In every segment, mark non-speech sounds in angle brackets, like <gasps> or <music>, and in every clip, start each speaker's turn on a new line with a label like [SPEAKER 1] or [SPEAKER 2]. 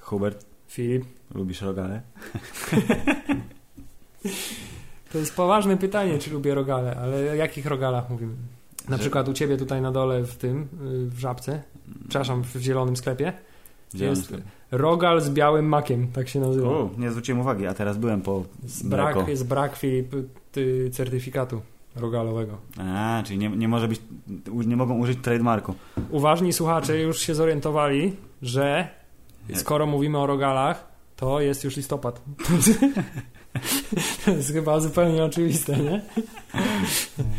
[SPEAKER 1] Hubert,
[SPEAKER 2] Filip?
[SPEAKER 1] lubisz rogale?
[SPEAKER 2] To jest poważne pytanie, czy lubię rogale, ale o jakich rogalach mówimy? Na
[SPEAKER 1] Że-
[SPEAKER 2] przykład u ciebie tutaj na dole w tym, y, w żabce, przepraszam, w zielonym sklepie,
[SPEAKER 1] Dzielam
[SPEAKER 2] Jest-
[SPEAKER 1] się.
[SPEAKER 2] rogal z białym makiem, tak się nazywa.
[SPEAKER 1] U, nie zwróciłem uwagi, a teraz byłem po
[SPEAKER 2] Z
[SPEAKER 1] mleko.
[SPEAKER 2] brak, jest brak Filip ty, certyfikatu rogalowego.
[SPEAKER 1] A, czyli nie, nie może być, nie mogą użyć trademarku.
[SPEAKER 2] Uważni słuchacze już się zorientowali, że
[SPEAKER 1] Nie.
[SPEAKER 2] skoro mówimy o rogalach, to jest już listopad. <laughs> To jest chyba zupełnie oczywiste, nie?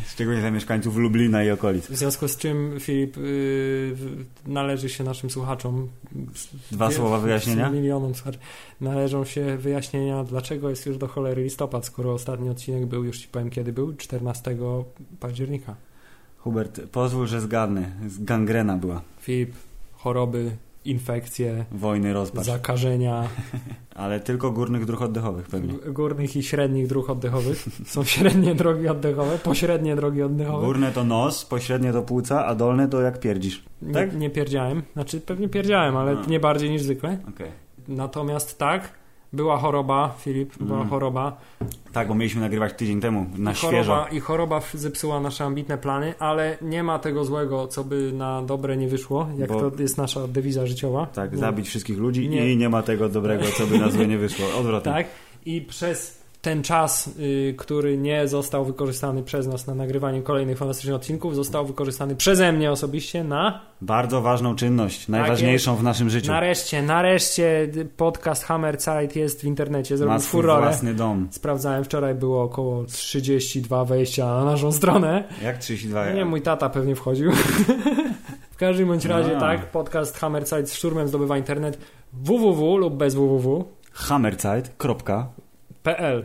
[SPEAKER 1] Szczególnie dla mieszkańców Lublina i okolic.
[SPEAKER 2] W związku z czym, Filip, y, w- należy się naszym słuchaczom.
[SPEAKER 1] Dwa
[SPEAKER 2] wie-
[SPEAKER 1] słowa wyjaśnienia?
[SPEAKER 2] Milionom słuchaczy. Należą się wyjaśnienia, dlaczego jest już do cholery listopad, skoro ostatni odcinek był, już ci powiem kiedy był, 14 października.
[SPEAKER 1] Hubert, pozwól, że zgadnę. Z Gangrena była.
[SPEAKER 2] Filip, choroby, infekcje,
[SPEAKER 1] Wojny, rozpacz.
[SPEAKER 2] zakażenia
[SPEAKER 1] Ale tylko górnych dróg oddechowych pewnie.
[SPEAKER 2] g- górnych i średnich dróg oddechowych. Są średnie <laughs> drogi oddechowe, pośrednie drogi oddechowe.
[SPEAKER 1] Górne to nos, pośrednie to płuca, a dolne to jak pierdzisz.
[SPEAKER 2] Nie,
[SPEAKER 1] tak?
[SPEAKER 2] nie pierdziałem, znaczy pewnie pierdziałem, ale
[SPEAKER 1] A.
[SPEAKER 2] nie bardziej niż zwykle.
[SPEAKER 1] Okej.
[SPEAKER 2] Natomiast tak, była choroba, Filip, była
[SPEAKER 1] Mm.
[SPEAKER 2] choroba.
[SPEAKER 1] Tak, bo mieliśmy nagrywać tydzień temu, na
[SPEAKER 2] I
[SPEAKER 1] świeżo.
[SPEAKER 2] choroba. I choroba f- zepsuła nasze ambitne plany, ale nie ma tego złego, co by na dobre nie wyszło, jak
[SPEAKER 1] Bo-
[SPEAKER 2] to jest nasza dewiza życiowa.
[SPEAKER 1] Tak,
[SPEAKER 2] No.
[SPEAKER 1] zabić wszystkich ludzi
[SPEAKER 2] Nie.
[SPEAKER 1] i nie ma tego dobrego, co by na złe nie wyszło. Odwrotnie.
[SPEAKER 2] Tak? I przez ten czas, y, który nie został wykorzystany przez nas na nagrywanie kolejnych fantastycznych odcinków, został wykorzystany przeze mnie osobiście na...
[SPEAKER 1] Bardzo ważną
[SPEAKER 2] Tak
[SPEAKER 1] czynność, najważniejszą w naszym życiu.
[SPEAKER 2] Nareszcie, nareszcie podcast Hammerzeit jest w internecie,
[SPEAKER 1] Ma
[SPEAKER 2] zrobił
[SPEAKER 1] swój
[SPEAKER 2] furorę.
[SPEAKER 1] własny dom.
[SPEAKER 2] Sprawdzałem, wczoraj było około 32 wejścia na naszą stronę.
[SPEAKER 1] Jak 32?
[SPEAKER 2] Nie, mój tata pewnie wchodził. <laughs> w każdym bądź razie,
[SPEAKER 1] A.
[SPEAKER 2] tak, podcast Hammerzeit z szturmem zdobywa internet www lub bez www.pl.
[SPEAKER 1] Hammerzeit, kropka,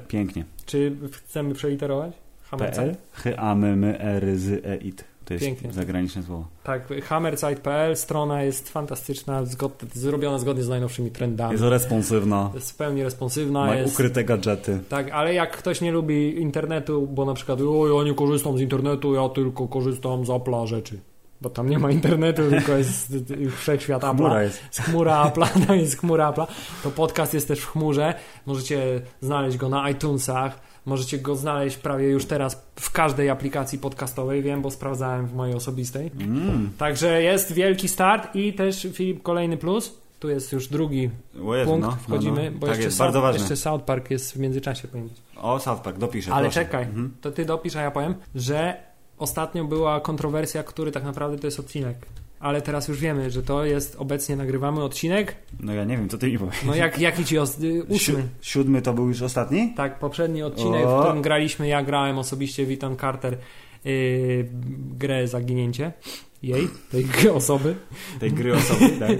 [SPEAKER 1] pięknie.
[SPEAKER 2] Czy chcemy przeliterować?
[SPEAKER 1] PL, h a m m r z e it. To jest
[SPEAKER 2] Pięknie.
[SPEAKER 1] zagraniczne słowo.
[SPEAKER 2] Tak, hammerzeit.pl, strona jest fantastyczna, zgod, zrobiona zgodnie z najnowszymi trendami.
[SPEAKER 1] Jest responsywna,
[SPEAKER 2] Jest w pełni responsywna,
[SPEAKER 1] ma
[SPEAKER 2] jest...
[SPEAKER 1] ukryte gadżety.
[SPEAKER 2] Tak, ale jak ktoś nie lubi internetu, bo na przykład o, ja nie korzystam z internetu, ja tylko korzystam z Apple'a rzeczy. Bo tam nie ma internetu, tylko
[SPEAKER 1] <laughs>
[SPEAKER 2] jest y, y, wszechświat Apple'a.
[SPEAKER 1] Chmura jest.
[SPEAKER 2] z chmura Apla, <laughs> tam jest chmura Apla, to podcast jest też w chmurze. Możecie znaleźć go na iTunesach, możecie go znaleźć prawie już teraz w każdej aplikacji podcastowej, wiem, bo sprawdzałem w mojej osobistej.
[SPEAKER 1] Mm.
[SPEAKER 2] Także jest wielki start i też Filip kolejny plus. Tu jest już drugi
[SPEAKER 1] O Jezu,
[SPEAKER 2] punkt,
[SPEAKER 1] no,
[SPEAKER 2] wchodzimy,
[SPEAKER 1] no, no.
[SPEAKER 2] bo
[SPEAKER 1] tak
[SPEAKER 2] jeszcze,
[SPEAKER 1] jest,
[SPEAKER 2] South,
[SPEAKER 1] bardzo ważne.
[SPEAKER 2] jeszcze South Park jest w międzyczasie pojęcie.
[SPEAKER 1] O, South Park, dopiszę.
[SPEAKER 2] Ale
[SPEAKER 1] proszę.
[SPEAKER 2] czekaj,
[SPEAKER 1] Mhm.
[SPEAKER 2] to ty dopisz, a ja powiem, że ostatnio była kontrowersja, który tak naprawdę to jest odcinek. Ale teraz już wiemy, że to jest, obecnie nagrywamy odcinek
[SPEAKER 1] No ja nie wiem, co ty mi powiesz. <laughs>
[SPEAKER 2] no jak, jaki ci os- y, ósmy?
[SPEAKER 1] Siu- siódmy to był już ostatni?
[SPEAKER 2] Tak, poprzedni odcinek,
[SPEAKER 1] O.
[SPEAKER 2] w którym graliśmy, ja grałem osobiście Witan Carter yy, grę Zaginięcie jej, tej <laughs> g- osoby.
[SPEAKER 1] Tej gry
[SPEAKER 2] <laughs>
[SPEAKER 1] osoby, tak?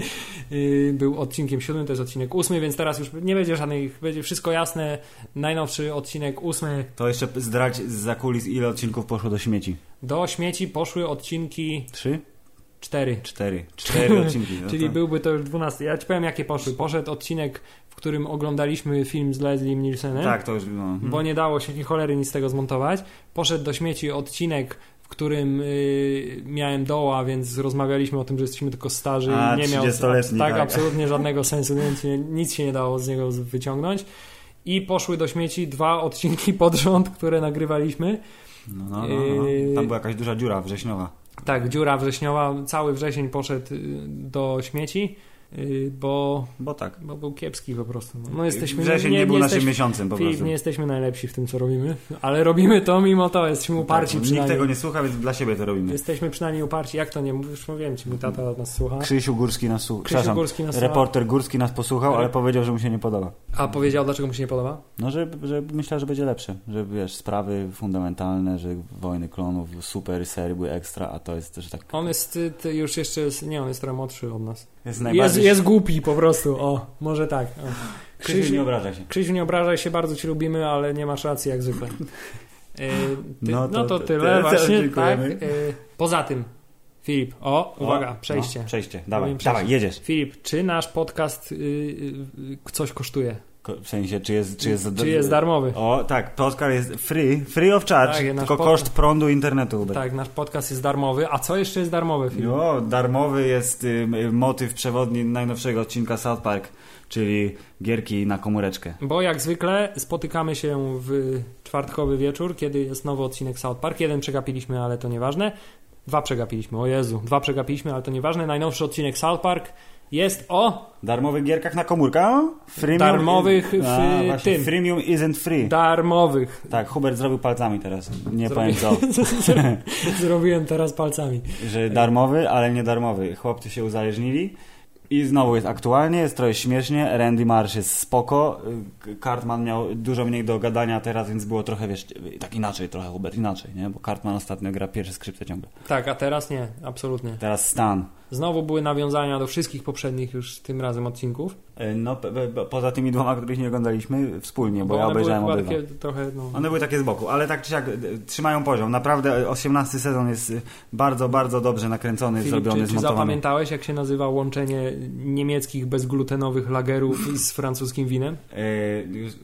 [SPEAKER 2] Yy, był odcinkiem siódmym, to jest odcinek ósmy, więc teraz już nie będzie żadnych, będzie wszystko jasne. Najnowszy odcinek ósmy.
[SPEAKER 1] To jeszcze zdrać z kulis, ile odcinków poszło do śmieci.
[SPEAKER 2] Do śmieci poszły odcinki
[SPEAKER 1] Trzy?
[SPEAKER 2] cztery.
[SPEAKER 1] Cztery.
[SPEAKER 2] <laughs>
[SPEAKER 1] Cztery odcinki. No
[SPEAKER 2] Czyli
[SPEAKER 1] to-
[SPEAKER 2] byłby to już dwunasty. Ja ci powiem, jakie poszły. Poszedł odcinek, w którym oglądaliśmy film z Leslie Nielsenem.
[SPEAKER 1] Tak, to już... No.
[SPEAKER 2] bo nie dało się ni cholery nic z tego zmontować. Poszedł do śmieci odcinek, w którym y, miałem doła, więc rozmawialiśmy o tym, że jesteśmy tylko starzy
[SPEAKER 1] A,
[SPEAKER 2] i nie miał
[SPEAKER 1] 30-letni,
[SPEAKER 2] tak,
[SPEAKER 1] tak.
[SPEAKER 2] absolutnie żadnego sensu, więc nie, nic się nie dało z niego z- wyciągnąć. I poszły do śmieci dwa odcinki pod rząd, które nagrywaliśmy.
[SPEAKER 1] No, no, no, no.
[SPEAKER 2] Yy.
[SPEAKER 1] Tam była jakaś duża dziura wrześniowa.
[SPEAKER 2] Tak, dziura wrześniowa, cały wrzesień poszedł y, do śmieci, y, bo,
[SPEAKER 1] Bo tak.
[SPEAKER 2] bo był kiepski po prostu. No jesteśmy
[SPEAKER 1] Wrzesień nie, był naszym
[SPEAKER 2] jesteśmy-
[SPEAKER 1] miesiącem po
[SPEAKER 2] Filip,
[SPEAKER 1] prostu.
[SPEAKER 2] nie jesteśmy najlepsi w tym, co robimy, ale robimy to mimo to, jesteśmy uparci
[SPEAKER 1] tak, nikt
[SPEAKER 2] przynajmniej.
[SPEAKER 1] tego nie słucha, więc dla siebie to robimy.
[SPEAKER 2] Jesteśmy przynajmniej uparci. Jak to nie mówisz? Mówiłem ci, mój tata nas słucha.
[SPEAKER 1] Krzysiu Górski nas słuchał.
[SPEAKER 2] Krzysiu
[SPEAKER 1] Przepraszam,
[SPEAKER 2] Górski nas słucha.
[SPEAKER 1] reporter Górski nas posłuchał, ale powiedział, że mu się nie podoba.
[SPEAKER 2] A powiedział, dlaczego mu się nie podoba?
[SPEAKER 1] No, że, że myślał, że będzie lepszy. Że wiesz, sprawy fundamentalne, że wojny klonów, super serii były ekstra, a to jest też tak.
[SPEAKER 2] On jest y, ty, już jeszcze, jest, nie, on jest trochę młodszy od nas.
[SPEAKER 1] Jest
[SPEAKER 2] Jest,
[SPEAKER 1] najbardziej.
[SPEAKER 2] jest głupi po prostu, o, może tak. O.
[SPEAKER 1] Krzysiu, nie obraża się.
[SPEAKER 2] Krzysiu, nie obrażaj się, bardzo ci lubimy, ale nie masz racji jak zwykle. Y, ty,
[SPEAKER 1] No
[SPEAKER 2] no,
[SPEAKER 1] to-
[SPEAKER 2] to,
[SPEAKER 1] to-
[SPEAKER 2] tyle
[SPEAKER 1] tyle,
[SPEAKER 2] właśnie, tak.
[SPEAKER 1] dziękujemy.
[SPEAKER 2] y, poza tym, Filip,
[SPEAKER 1] O,
[SPEAKER 2] o, uwaga,
[SPEAKER 1] no,
[SPEAKER 2] przejście.
[SPEAKER 1] przejście, dawaj,
[SPEAKER 2] Robimy przejście.
[SPEAKER 1] dawaj, jedziesz.
[SPEAKER 2] Filip, czy nasz podcast y, y, y, coś kosztuje?
[SPEAKER 1] Ko- W sensie, czy jest... Czy jest,
[SPEAKER 2] Czy jest darmowy?
[SPEAKER 1] O, tak, podcast jest free, free of charge,
[SPEAKER 2] Tak, jest nasz
[SPEAKER 1] tylko
[SPEAKER 2] podcast.
[SPEAKER 1] koszt prądu internetu. Uber.
[SPEAKER 2] Tak, nasz podcast jest darmowy. A co jeszcze jest darmowy film?
[SPEAKER 1] No, darmowy jest y, y, motyw przewodni najnowszego odcinka South Park, czyli gierki na komóreczkę.
[SPEAKER 2] Bo jak zwykle spotykamy się w czwartkowy wieczór, kiedy jest nowy odcinek South Park. Jeden przegapiliśmy, ale to nieważne. Dwa przegapiliśmy, o Jezu, dwa przegapiliśmy, ale to nieważne. Najnowszy odcinek South Park jest o
[SPEAKER 1] Darmowych gierkach na komórkę? Freemium,
[SPEAKER 2] Darmowych w
[SPEAKER 1] A, właśnie,
[SPEAKER 2] tym.
[SPEAKER 1] Freemium isn't free.
[SPEAKER 2] darmowych.
[SPEAKER 1] tak, Hubert zrobił palcami teraz. Nie
[SPEAKER 2] Zrobię-
[SPEAKER 1] pamiętał,
[SPEAKER 2] <laughs> Zrobiłem teraz palcami.
[SPEAKER 1] że darmowy, ale nie darmowy. Chłopcy się uzależnili. I znowu jest aktualnie, jest trochę śmiesznie. Randy Marsh jest spoko. y, Cartman miał dużo mniej do gadania teraz, więc było trochę, wiesz, tak inaczej trochę, Hubert, inaczej, nie? Bo Cartman ostatnio gra pierwsze skrzypce ciągle.
[SPEAKER 2] Tak, a teraz nie, absolutnie.
[SPEAKER 1] Teraz Stan.
[SPEAKER 2] Znowu były nawiązania do wszystkich poprzednich już tym razem odcinków.
[SPEAKER 1] E, No, pe- pe- pe- poza tymi dwoma, których nie oglądaliśmy wspólnie, No bo, ja
[SPEAKER 2] one były
[SPEAKER 1] obejrzałem
[SPEAKER 2] chyba
[SPEAKER 1] obydwa.
[SPEAKER 2] takie trochę, no...
[SPEAKER 1] One były takie z boku, ale tak czy siak e, trzymają poziom. Naprawdę e, 18 sezon jest e, bardzo, bardzo dobrze nakręcony,
[SPEAKER 2] Filip,
[SPEAKER 1] zrobiony,
[SPEAKER 2] czy, czy
[SPEAKER 1] zmontowany.
[SPEAKER 2] zapamiętałeś, jak się nazywa łączenie niemieckich bezglutenowych lagerów z francuskim winem?
[SPEAKER 1] E, już, e,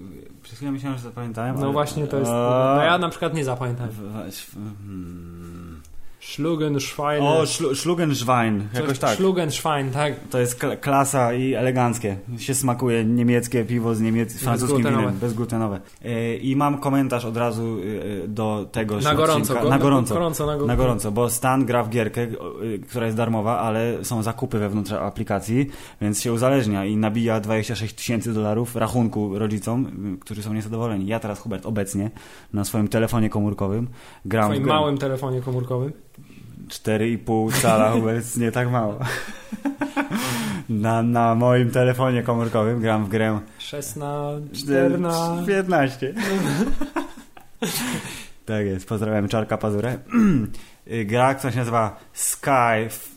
[SPEAKER 1] Przez chwilę myślałem, że zapamiętałem.
[SPEAKER 2] No
[SPEAKER 1] ale-
[SPEAKER 2] właśnie, to jest.
[SPEAKER 1] A-
[SPEAKER 2] No ja na przykład nie zapamiętam.
[SPEAKER 1] W- w- hmm.
[SPEAKER 2] Schlugenschwein.
[SPEAKER 1] O, szlu, Schlugenschwein, jakoś tak.
[SPEAKER 2] Schlugenschwein, tak.
[SPEAKER 1] To jest kla- klasa i eleganckie. Się smakuje niemieckie piwo z niemiec francuskim
[SPEAKER 2] Bezglutenowe.
[SPEAKER 1] winem, bezglutenowe. E, I mam komentarz od razu e, e, do tego
[SPEAKER 2] Na gorąco,
[SPEAKER 1] odcinka.
[SPEAKER 2] go-
[SPEAKER 1] na gorąco.
[SPEAKER 2] gorąco, na, go-
[SPEAKER 1] Na gorąco, bo Stan gra w gierkę, o, y, która jest darmowa, ale są zakupy wewnątrz aplikacji, więc się uzależnia i nabija 26 tysięcy dolarów rachunku rodzicom, y, którzy są niezadowoleni. Ja teraz, Hubert, obecnie na swoim telefonie komórkowym
[SPEAKER 2] W
[SPEAKER 1] gram w
[SPEAKER 2] twoim
[SPEAKER 1] grę.
[SPEAKER 2] małym telefonie komórkowym.
[SPEAKER 1] 4,5
[SPEAKER 2] <laughs>
[SPEAKER 1] cala, Hubert, nie tak mało. <laughs> Na, na moim telefonie komórkowym gram w grę
[SPEAKER 2] 16, 14.
[SPEAKER 1] 14. <laughs> tak jest, pozdrawiam Czarka Pazurę. <clears throat> Y, Gra, która się nazywa Sky F-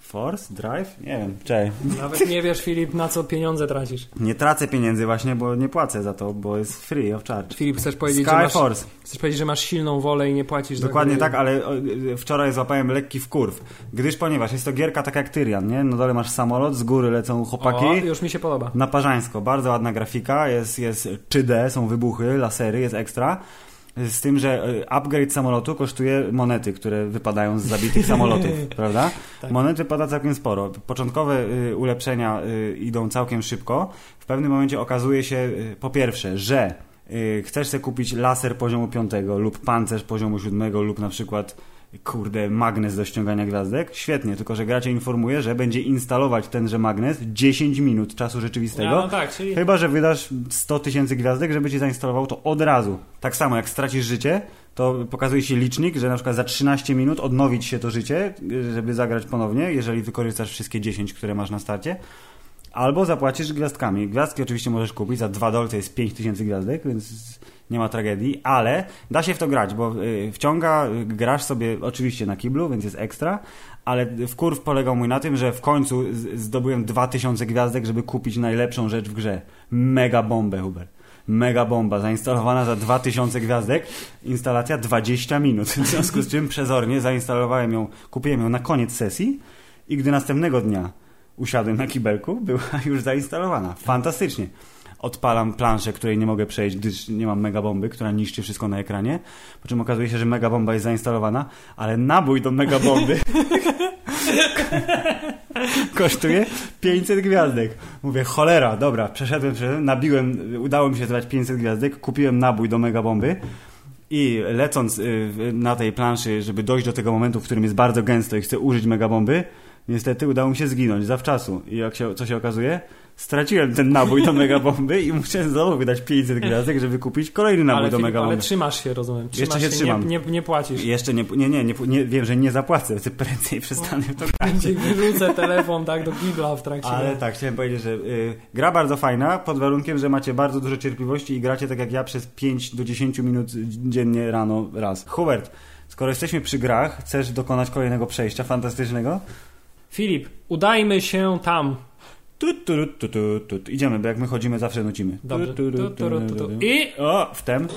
[SPEAKER 1] Force Drive? Nie wiem, czej.
[SPEAKER 2] Nawet nie wiesz, Filip, na co pieniądze tracisz.
[SPEAKER 1] Nie tracę pieniędzy właśnie, bo nie płacę za to, bo jest free of charge.
[SPEAKER 2] Filip, chcesz powiedzieć, że
[SPEAKER 1] Sky
[SPEAKER 2] masz,
[SPEAKER 1] Force.
[SPEAKER 2] chcesz powiedzieć, że masz silną wolę i nie płacisz za
[SPEAKER 1] Dokładnie
[SPEAKER 2] gry?
[SPEAKER 1] tak, ale o, y, wczoraj złapałem lekki wkurw, gdyż ponieważ jest to gierka taka jak Tyrian, nie? Na dole masz samolot, z góry lecą chłopaki.
[SPEAKER 2] O, już mi się podoba.
[SPEAKER 1] Na Parzańsko, bardzo ładna grafika, jest, jest 3D, są wybuchy, lasery, jest ekstra. Z tym, że y, upgrade samolotu kosztuje monety, które wypadają z zabitych samolotów, prawda?
[SPEAKER 2] Tak.
[SPEAKER 1] Monet wypada całkiem sporo. Początkowe y, ulepszenia y, idą całkiem szybko. W pewnym momencie okazuje się, y, po pierwsze, że y, chcesz sobie kupić laser poziomu 5 lub pancerz poziomu 7 lub na przykład kurde, magnes do ściągania gwiazdek. Świetnie, tylko że gra cię informuje, że będzie instalować tenże magnes 10 minut czasu rzeczywistego.
[SPEAKER 2] No, no tak, czyli
[SPEAKER 1] Chyba, że wydasz 100 tysięcy gwiazdek, żeby ci zainstalował to od razu. Tak samo jak stracisz życie, to pokazuje się licznik, że na przykład za 13 minut odnowić się to życie, żeby zagrać ponownie, jeżeli wykorzystasz wszystkie 10, które masz na starcie. Albo zapłacisz gwiazdkami. Gwiazdki oczywiście możesz kupić za 2 dolce jest 5 tysięcy gwiazdek, więc nie ma tragedii, ale da się w to grać, bo y, wciąga, y, grasz sobie oczywiście na kiblu, więc jest ekstra, ale wkurw polegał mój na tym, że w końcu z- zdobyłem 2000 gwiazdek, żeby kupić najlepszą rzecz w grze. Mega bombę, Hubert. Mega bomba, zainstalowana za 2000 gwiazdek, instalacja 20 minut, <laughs> w związku z czym przezornie zainstalowałem ją, kupiłem ją na koniec sesji i gdy następnego dnia usiadłem na kibelku, była <laughs> już zainstalowana. Fantastycznie. Odpalam planszę, której nie mogę przejść, gdyż nie mam megabomby, która niszczy wszystko na ekranie. Po czym okazuje się, że megabomba jest zainstalowana, ale nabój do megabomby kosztuje 500 gwiazdek. Mówię, cholera, dobra, przeszedłem, przeszedłem, nabiłem, udało mi się zbrać 500 gwiazdek, kupiłem nabój do megabomby. I lecąc y, w- na tej planszy, żeby dojść do tego momentu, w którym jest bardzo gęsto i chcę użyć megabomby, niestety udało mi się zginąć zawczasu. I jak się, co się okazuje? Straciłem ten nabój do megabomby i muszę znowu wydać 500 gwiazdek, żeby kupić kolejny nabój
[SPEAKER 2] ale,
[SPEAKER 1] do
[SPEAKER 2] Filip, ale
[SPEAKER 1] megabomby.
[SPEAKER 2] trzymasz się, rozumiem. Trzymasz
[SPEAKER 1] Jeszcze się trzymam.
[SPEAKER 2] Nie, nie, nie płacisz. <laughs>
[SPEAKER 1] Jeszcze nie, nie, nie, nie, nie, wiem, że nie zapłacę, ty prędzej przestanę w to
[SPEAKER 2] Będzie wyrzucę telefon tak do gigla w trakcie.
[SPEAKER 1] Ale tak, chciałem powiedzieć, że y, gra bardzo fajna, pod warunkiem, że macie bardzo dużo cierpliwości i gracie tak jak ja przez 5 do 10 minut dziennie rano raz. Hubert, skoro jesteśmy przy grach, chcesz dokonać kolejnego przejścia fantastycznego?
[SPEAKER 2] Filip, udajmy się tam.
[SPEAKER 1] Tu, tu, tu, tu, tu, tu. Idziemy, bo jak my chodzimy, zawsze nucimy. Tu,
[SPEAKER 2] Dobrze.
[SPEAKER 1] tu, tu, tu, tu, tu.
[SPEAKER 2] I...
[SPEAKER 1] O, wtem.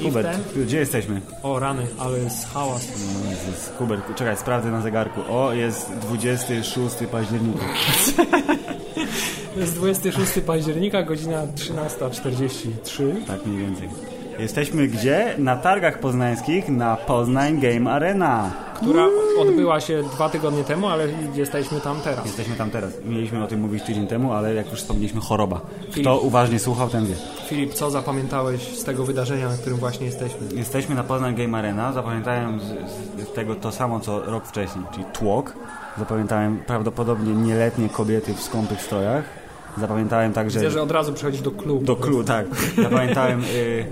[SPEAKER 2] I
[SPEAKER 1] Hubert,
[SPEAKER 2] wtem?
[SPEAKER 1] tu, gdzie jesteśmy?
[SPEAKER 2] O rany, ale jest hałas.
[SPEAKER 1] O Jezus, Hubert, czekaj, sprawdzę na zegarku. O, jest 26 października.
[SPEAKER 2] To jest 26 października, godzina 13.43.
[SPEAKER 1] Tak mniej więcej. Jesteśmy gdzie? Na targach poznańskich na Poznań Game Arena.
[SPEAKER 2] która odbyła się dwa tygodnie temu, ale jesteśmy tam teraz.
[SPEAKER 1] Jesteśmy tam teraz. Mieliśmy o tym mówić tydzień temu, ale jak już wspomnieliśmy, choroba. Kto uważnie słuchał, ten wie.
[SPEAKER 2] Filip, co zapamiętałeś z tego wydarzenia, na którym właśnie jesteśmy?
[SPEAKER 1] Jesteśmy na Poznań Game Arena. Zapamiętałem z, z tego to samo, co rok wcześniej, czyli tłok. Zapamiętałem prawdopodobnie nieletnie kobiety w skąpych strojach. Zapamiętałem także...
[SPEAKER 2] Widzę, że od razu przechodzisz do klubu.
[SPEAKER 1] Do klu, tak. Zapamiętałem y, y,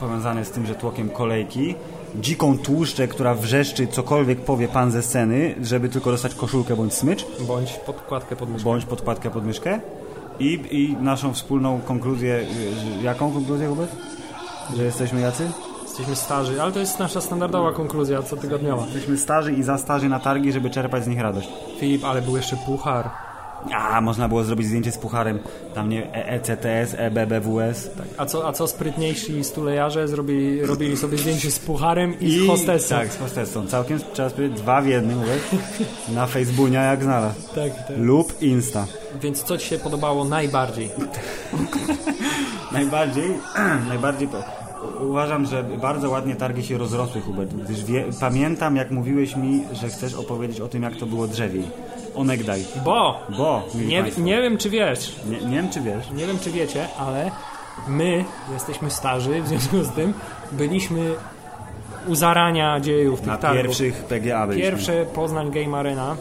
[SPEAKER 1] powiązane z tym, że tłokiem kolejki, dziką tłuszczę, która wrzeszczy cokolwiek powie pan ze sceny, żeby tylko dostać koszulkę bądź smycz,
[SPEAKER 2] Bądź podkładkę pod myszkę.
[SPEAKER 1] bądź podpadkę pod myszkę. I, I naszą wspólną konkluzję, y, jaką konkluzję wobec? Że jesteśmy jacy?
[SPEAKER 2] Jesteśmy starzy, ale to jest nasza standardowa konkluzja cotygodniowa.
[SPEAKER 1] Jesteśmy starzy i za starzy na targi, żeby czerpać z nich radość.
[SPEAKER 2] Filip, ale był jeszcze puchar.
[SPEAKER 1] A, można było zrobić zdjęcie z pucharem. Tam nie E- ECTS, EBBWS. Tak.
[SPEAKER 2] A co, a co sprytniejsi stulejarze zrobili, robili sobie zdjęcie z pucharem i,
[SPEAKER 1] I-
[SPEAKER 2] z hostessą.
[SPEAKER 1] Tak, z hostessą. Całkiem trzeba powiedzieć, dwa w jednym, wiesz? Na Facebooku jak znalazł.
[SPEAKER 2] tak, tak.
[SPEAKER 1] Lub Insta.
[SPEAKER 2] Więc co ci się podobało najbardziej?
[SPEAKER 1] Najbardziej, <clears throat> najbardziej po, u- uważam, że bardzo ładnie targi się rozrosły, Hubert, gdyż wie, pamiętam, jak mówiłeś mi, że chcesz opowiedzieć o tym, jak to było drzewiej. Onegdaj.
[SPEAKER 2] Bo
[SPEAKER 1] Bo, mili
[SPEAKER 2] nie,
[SPEAKER 1] państwo,
[SPEAKER 2] nie wiem, czy wiesz,
[SPEAKER 1] nie, nie wiem, czy wiesz.
[SPEAKER 2] nie wiem, czy wiecie, ale my jesteśmy starzy, w związku z tym byliśmy u zarania dziejów tych
[SPEAKER 1] Na
[SPEAKER 2] targów.
[SPEAKER 1] pierwszych PGA byliśmy.
[SPEAKER 2] Tak, Pierwsze Poznań Game Arena,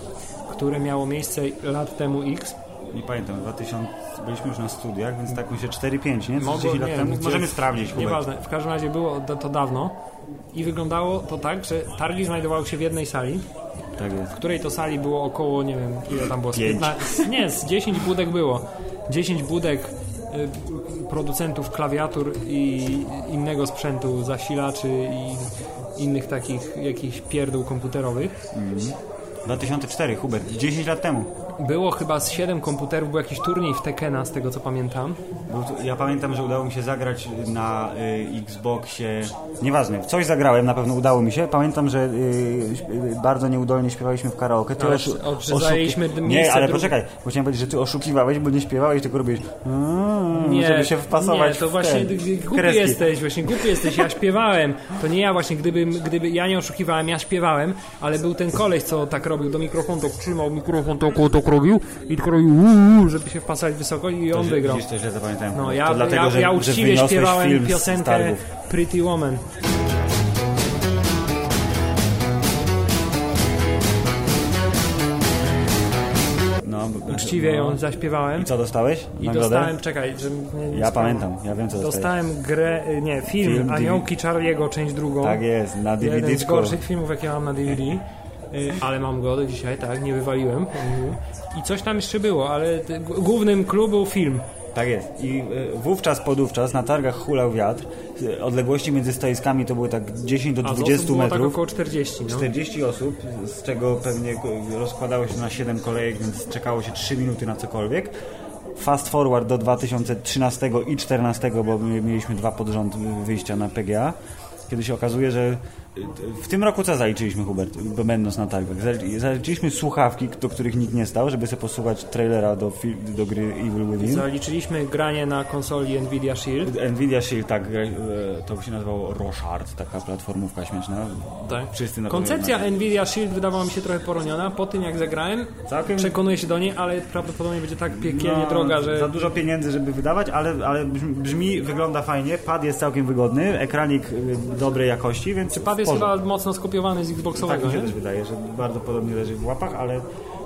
[SPEAKER 2] które miało miejsce lat temu X.
[SPEAKER 1] Nie pamiętam, 2000, byliśmy już na studiach, więc tak mi się 4-5, nie? Co
[SPEAKER 2] Mogło-
[SPEAKER 1] 10 lat
[SPEAKER 2] nie,
[SPEAKER 1] temu.
[SPEAKER 2] gdzie-
[SPEAKER 1] Możemy sprawdzić, Hubert.
[SPEAKER 2] Nieważne, w każdym razie było da- to dawno i wyglądało to tak, że targi znajdowały się w jednej sali,
[SPEAKER 1] Tak jest.
[SPEAKER 2] w której to sali było około, nie wiem, ile tam było, z
[SPEAKER 1] Pięć.
[SPEAKER 2] 15, nie, z 10 budek było. 10 budek y, producentów klawiatur i innego sprzętu, zasilaczy i innych takich jakichś pierdół komputerowych.
[SPEAKER 1] 2004, Hubert, 10 lat temu.
[SPEAKER 2] Było chyba z 7 komputerów, był jakiś turniej w Tekena, z tego co pamiętam.
[SPEAKER 1] Był tu- No Ja pamiętam, że udało mi się zagrać na y, Xboxie. Nieważne, w coś zagrałem, na pewno udało mi się. Pamiętam, że y, śp- y, bardzo nieudolnie śpiewaliśmy w karaoke. Ty
[SPEAKER 2] Ale
[SPEAKER 1] oszu-
[SPEAKER 2] o- że zajęliśmy d-
[SPEAKER 1] Nie,
[SPEAKER 2] miejsce
[SPEAKER 1] ale
[SPEAKER 2] drugie.
[SPEAKER 1] poczekaj, bo chciałem powiedzieć, że ty oszukiwałeś, bo nie śpiewałeś, tylko robiłeś. Mm, żeby się wpasować.
[SPEAKER 2] Nie, to
[SPEAKER 1] w
[SPEAKER 2] właśnie
[SPEAKER 1] ten, w
[SPEAKER 2] głupi
[SPEAKER 1] kreski.
[SPEAKER 2] jesteś, właśnie głupi jesteś, ja śpiewałem. To nie ja właśnie, gdyby, gdyby ja nie oszukiwałem, ja śpiewałem, ale był ten koleś, co tak robił do mikrofonu, tak trzymał mikrofon, tak, tak robił i tak robił, uuu, żeby się wpasować wysoko i on
[SPEAKER 1] Że-
[SPEAKER 2] wygrał.
[SPEAKER 1] Widzisz, to źle zapamiętałem.
[SPEAKER 2] No,
[SPEAKER 1] to
[SPEAKER 2] ja,
[SPEAKER 1] dlatego,
[SPEAKER 2] ja,
[SPEAKER 1] że,
[SPEAKER 2] ja
[SPEAKER 1] że
[SPEAKER 2] uczciwie
[SPEAKER 1] wyniosłeś film
[SPEAKER 2] śpiewałem
[SPEAKER 1] z
[SPEAKER 2] piosenkę
[SPEAKER 1] targów.
[SPEAKER 2] Pretty Woman.
[SPEAKER 1] No, b-
[SPEAKER 2] Uczciwie
[SPEAKER 1] no.
[SPEAKER 2] ją zaśpiewałem
[SPEAKER 1] I co dostałeś?
[SPEAKER 2] i
[SPEAKER 1] nagrodę?
[SPEAKER 2] dostałem, czekaj, że... Nie,
[SPEAKER 1] Ja pamiętam, ja wiem co dostałem.
[SPEAKER 2] Dostałem grę, y, nie, film,
[SPEAKER 1] Film,
[SPEAKER 2] Aniołki Charlie'ego, część drugą.
[SPEAKER 1] Tak jest, na
[SPEAKER 2] Jeden z
[SPEAKER 1] DVD.
[SPEAKER 2] gorszych filmów, jakie mam na DVD. Y, Ale mam go do dzisiaj, tak, nie wywaliłem. I coś tam jeszcze było, ale t- g- głównym clue był film.
[SPEAKER 1] Tak jest. I y, wówczas, podówczas na targach hulał wiatr. Y, Odległości między stoiskami to były tak 10 do
[SPEAKER 2] A z
[SPEAKER 1] 20
[SPEAKER 2] osób było tak
[SPEAKER 1] metrów.
[SPEAKER 2] około 40, no.
[SPEAKER 1] 40 osób, z czego pewnie y, rozkładało się na 7 kolejek, więc czekało się 3 minuty na cokolwiek. Fast forward do 2013 i 2014, bo my mieliśmy dwa pod rząd y, wyjścia na PGA, kiedy się okazuje, że y, w tym roku co zaliczyliśmy, Hubert, y, będąc na targach? Zali- Zaliczyliśmy słuchawki, do których nikt nie stał, żeby sobie posłuchać trailera do, fil- do gry Evil Within.
[SPEAKER 2] Zaliczyliśmy granie na konsoli Nvidia Shield.
[SPEAKER 1] Nvidia Shield, tak, e, e, to się nazywało Roshard, taka platformówka śmieszna.
[SPEAKER 2] Tak.
[SPEAKER 1] Wszyscy na to
[SPEAKER 2] Koncepcja
[SPEAKER 1] znają.
[SPEAKER 2] Nvidia Shield wydawała mi się trochę poroniona. Po tym jak zagrałem,
[SPEAKER 1] Całkiem-
[SPEAKER 2] przekonuję się do niej, ale prawdopodobnie będzie tak piekielnie
[SPEAKER 1] No,
[SPEAKER 2] droga,
[SPEAKER 1] Za
[SPEAKER 2] że
[SPEAKER 1] dużo pieniędzy, żeby wydawać, ale, ale brzmi, brzmi, wygląda fajnie, pad jest całkiem wygodny, ekranik e, dobrej jakości, więc
[SPEAKER 2] pad jest
[SPEAKER 1] w porządku.
[SPEAKER 2] chyba mocno skopiowany z
[SPEAKER 1] Tak
[SPEAKER 2] Xboxowego,
[SPEAKER 1] mi się
[SPEAKER 2] nie?
[SPEAKER 1] też wydaje, że bardzo podobnie leży w łapach, ale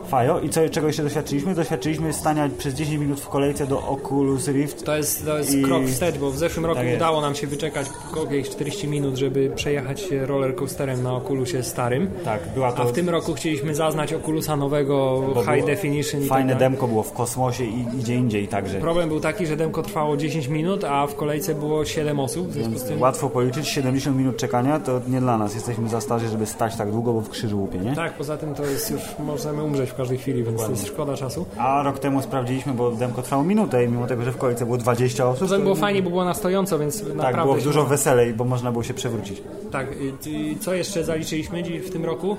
[SPEAKER 1] fajo. I co, czego jeszcze doświadczyliśmy? Doświadczyliśmy stania przez 10 minut w kolejce do Oculus Rift.
[SPEAKER 2] To jest, to jest
[SPEAKER 1] I-
[SPEAKER 2] krok wstecz, bo w zeszłym roku
[SPEAKER 1] Tak jest.
[SPEAKER 2] udało nam się wyczekać jakieś 40 minut, żeby przejechać się rollercoasterem na Oculusie starym.
[SPEAKER 1] Tak, była to
[SPEAKER 2] A w tym roku chcieliśmy zaznać Oculusa nowego,
[SPEAKER 1] bo było
[SPEAKER 2] high definition i
[SPEAKER 1] Fajne
[SPEAKER 2] tak dalej.
[SPEAKER 1] demko było w kosmosie i gdzie indziej także.
[SPEAKER 2] Problem był taki, że demko trwało 10 minut, a w kolejce było 7 osób, w związku z tym...
[SPEAKER 1] Łatwo policzyć, 70 minut czekania to nie dla nas. Jesteśmy za starzy, żeby stać tak długo, bo w krzyżu łupie, nie?
[SPEAKER 2] Tak, poza tym to jest już, możemy umrzeć w każdej chwili, więc to jest szkoda czasu.
[SPEAKER 1] A rok temu sprawdziliśmy, bo demko trwało minutę i mimo tego, że w kolejce było 20 osób,
[SPEAKER 2] Poza
[SPEAKER 1] to
[SPEAKER 2] tym było fajnie, bo było na stojąco, więc
[SPEAKER 1] tak,
[SPEAKER 2] naprawdę...
[SPEAKER 1] było
[SPEAKER 2] się-
[SPEAKER 1] dużo weselej, bo można było się przewrócić.
[SPEAKER 2] Tak, y, y, co jeszcze zaliczyliśmy dzi- w tym roku?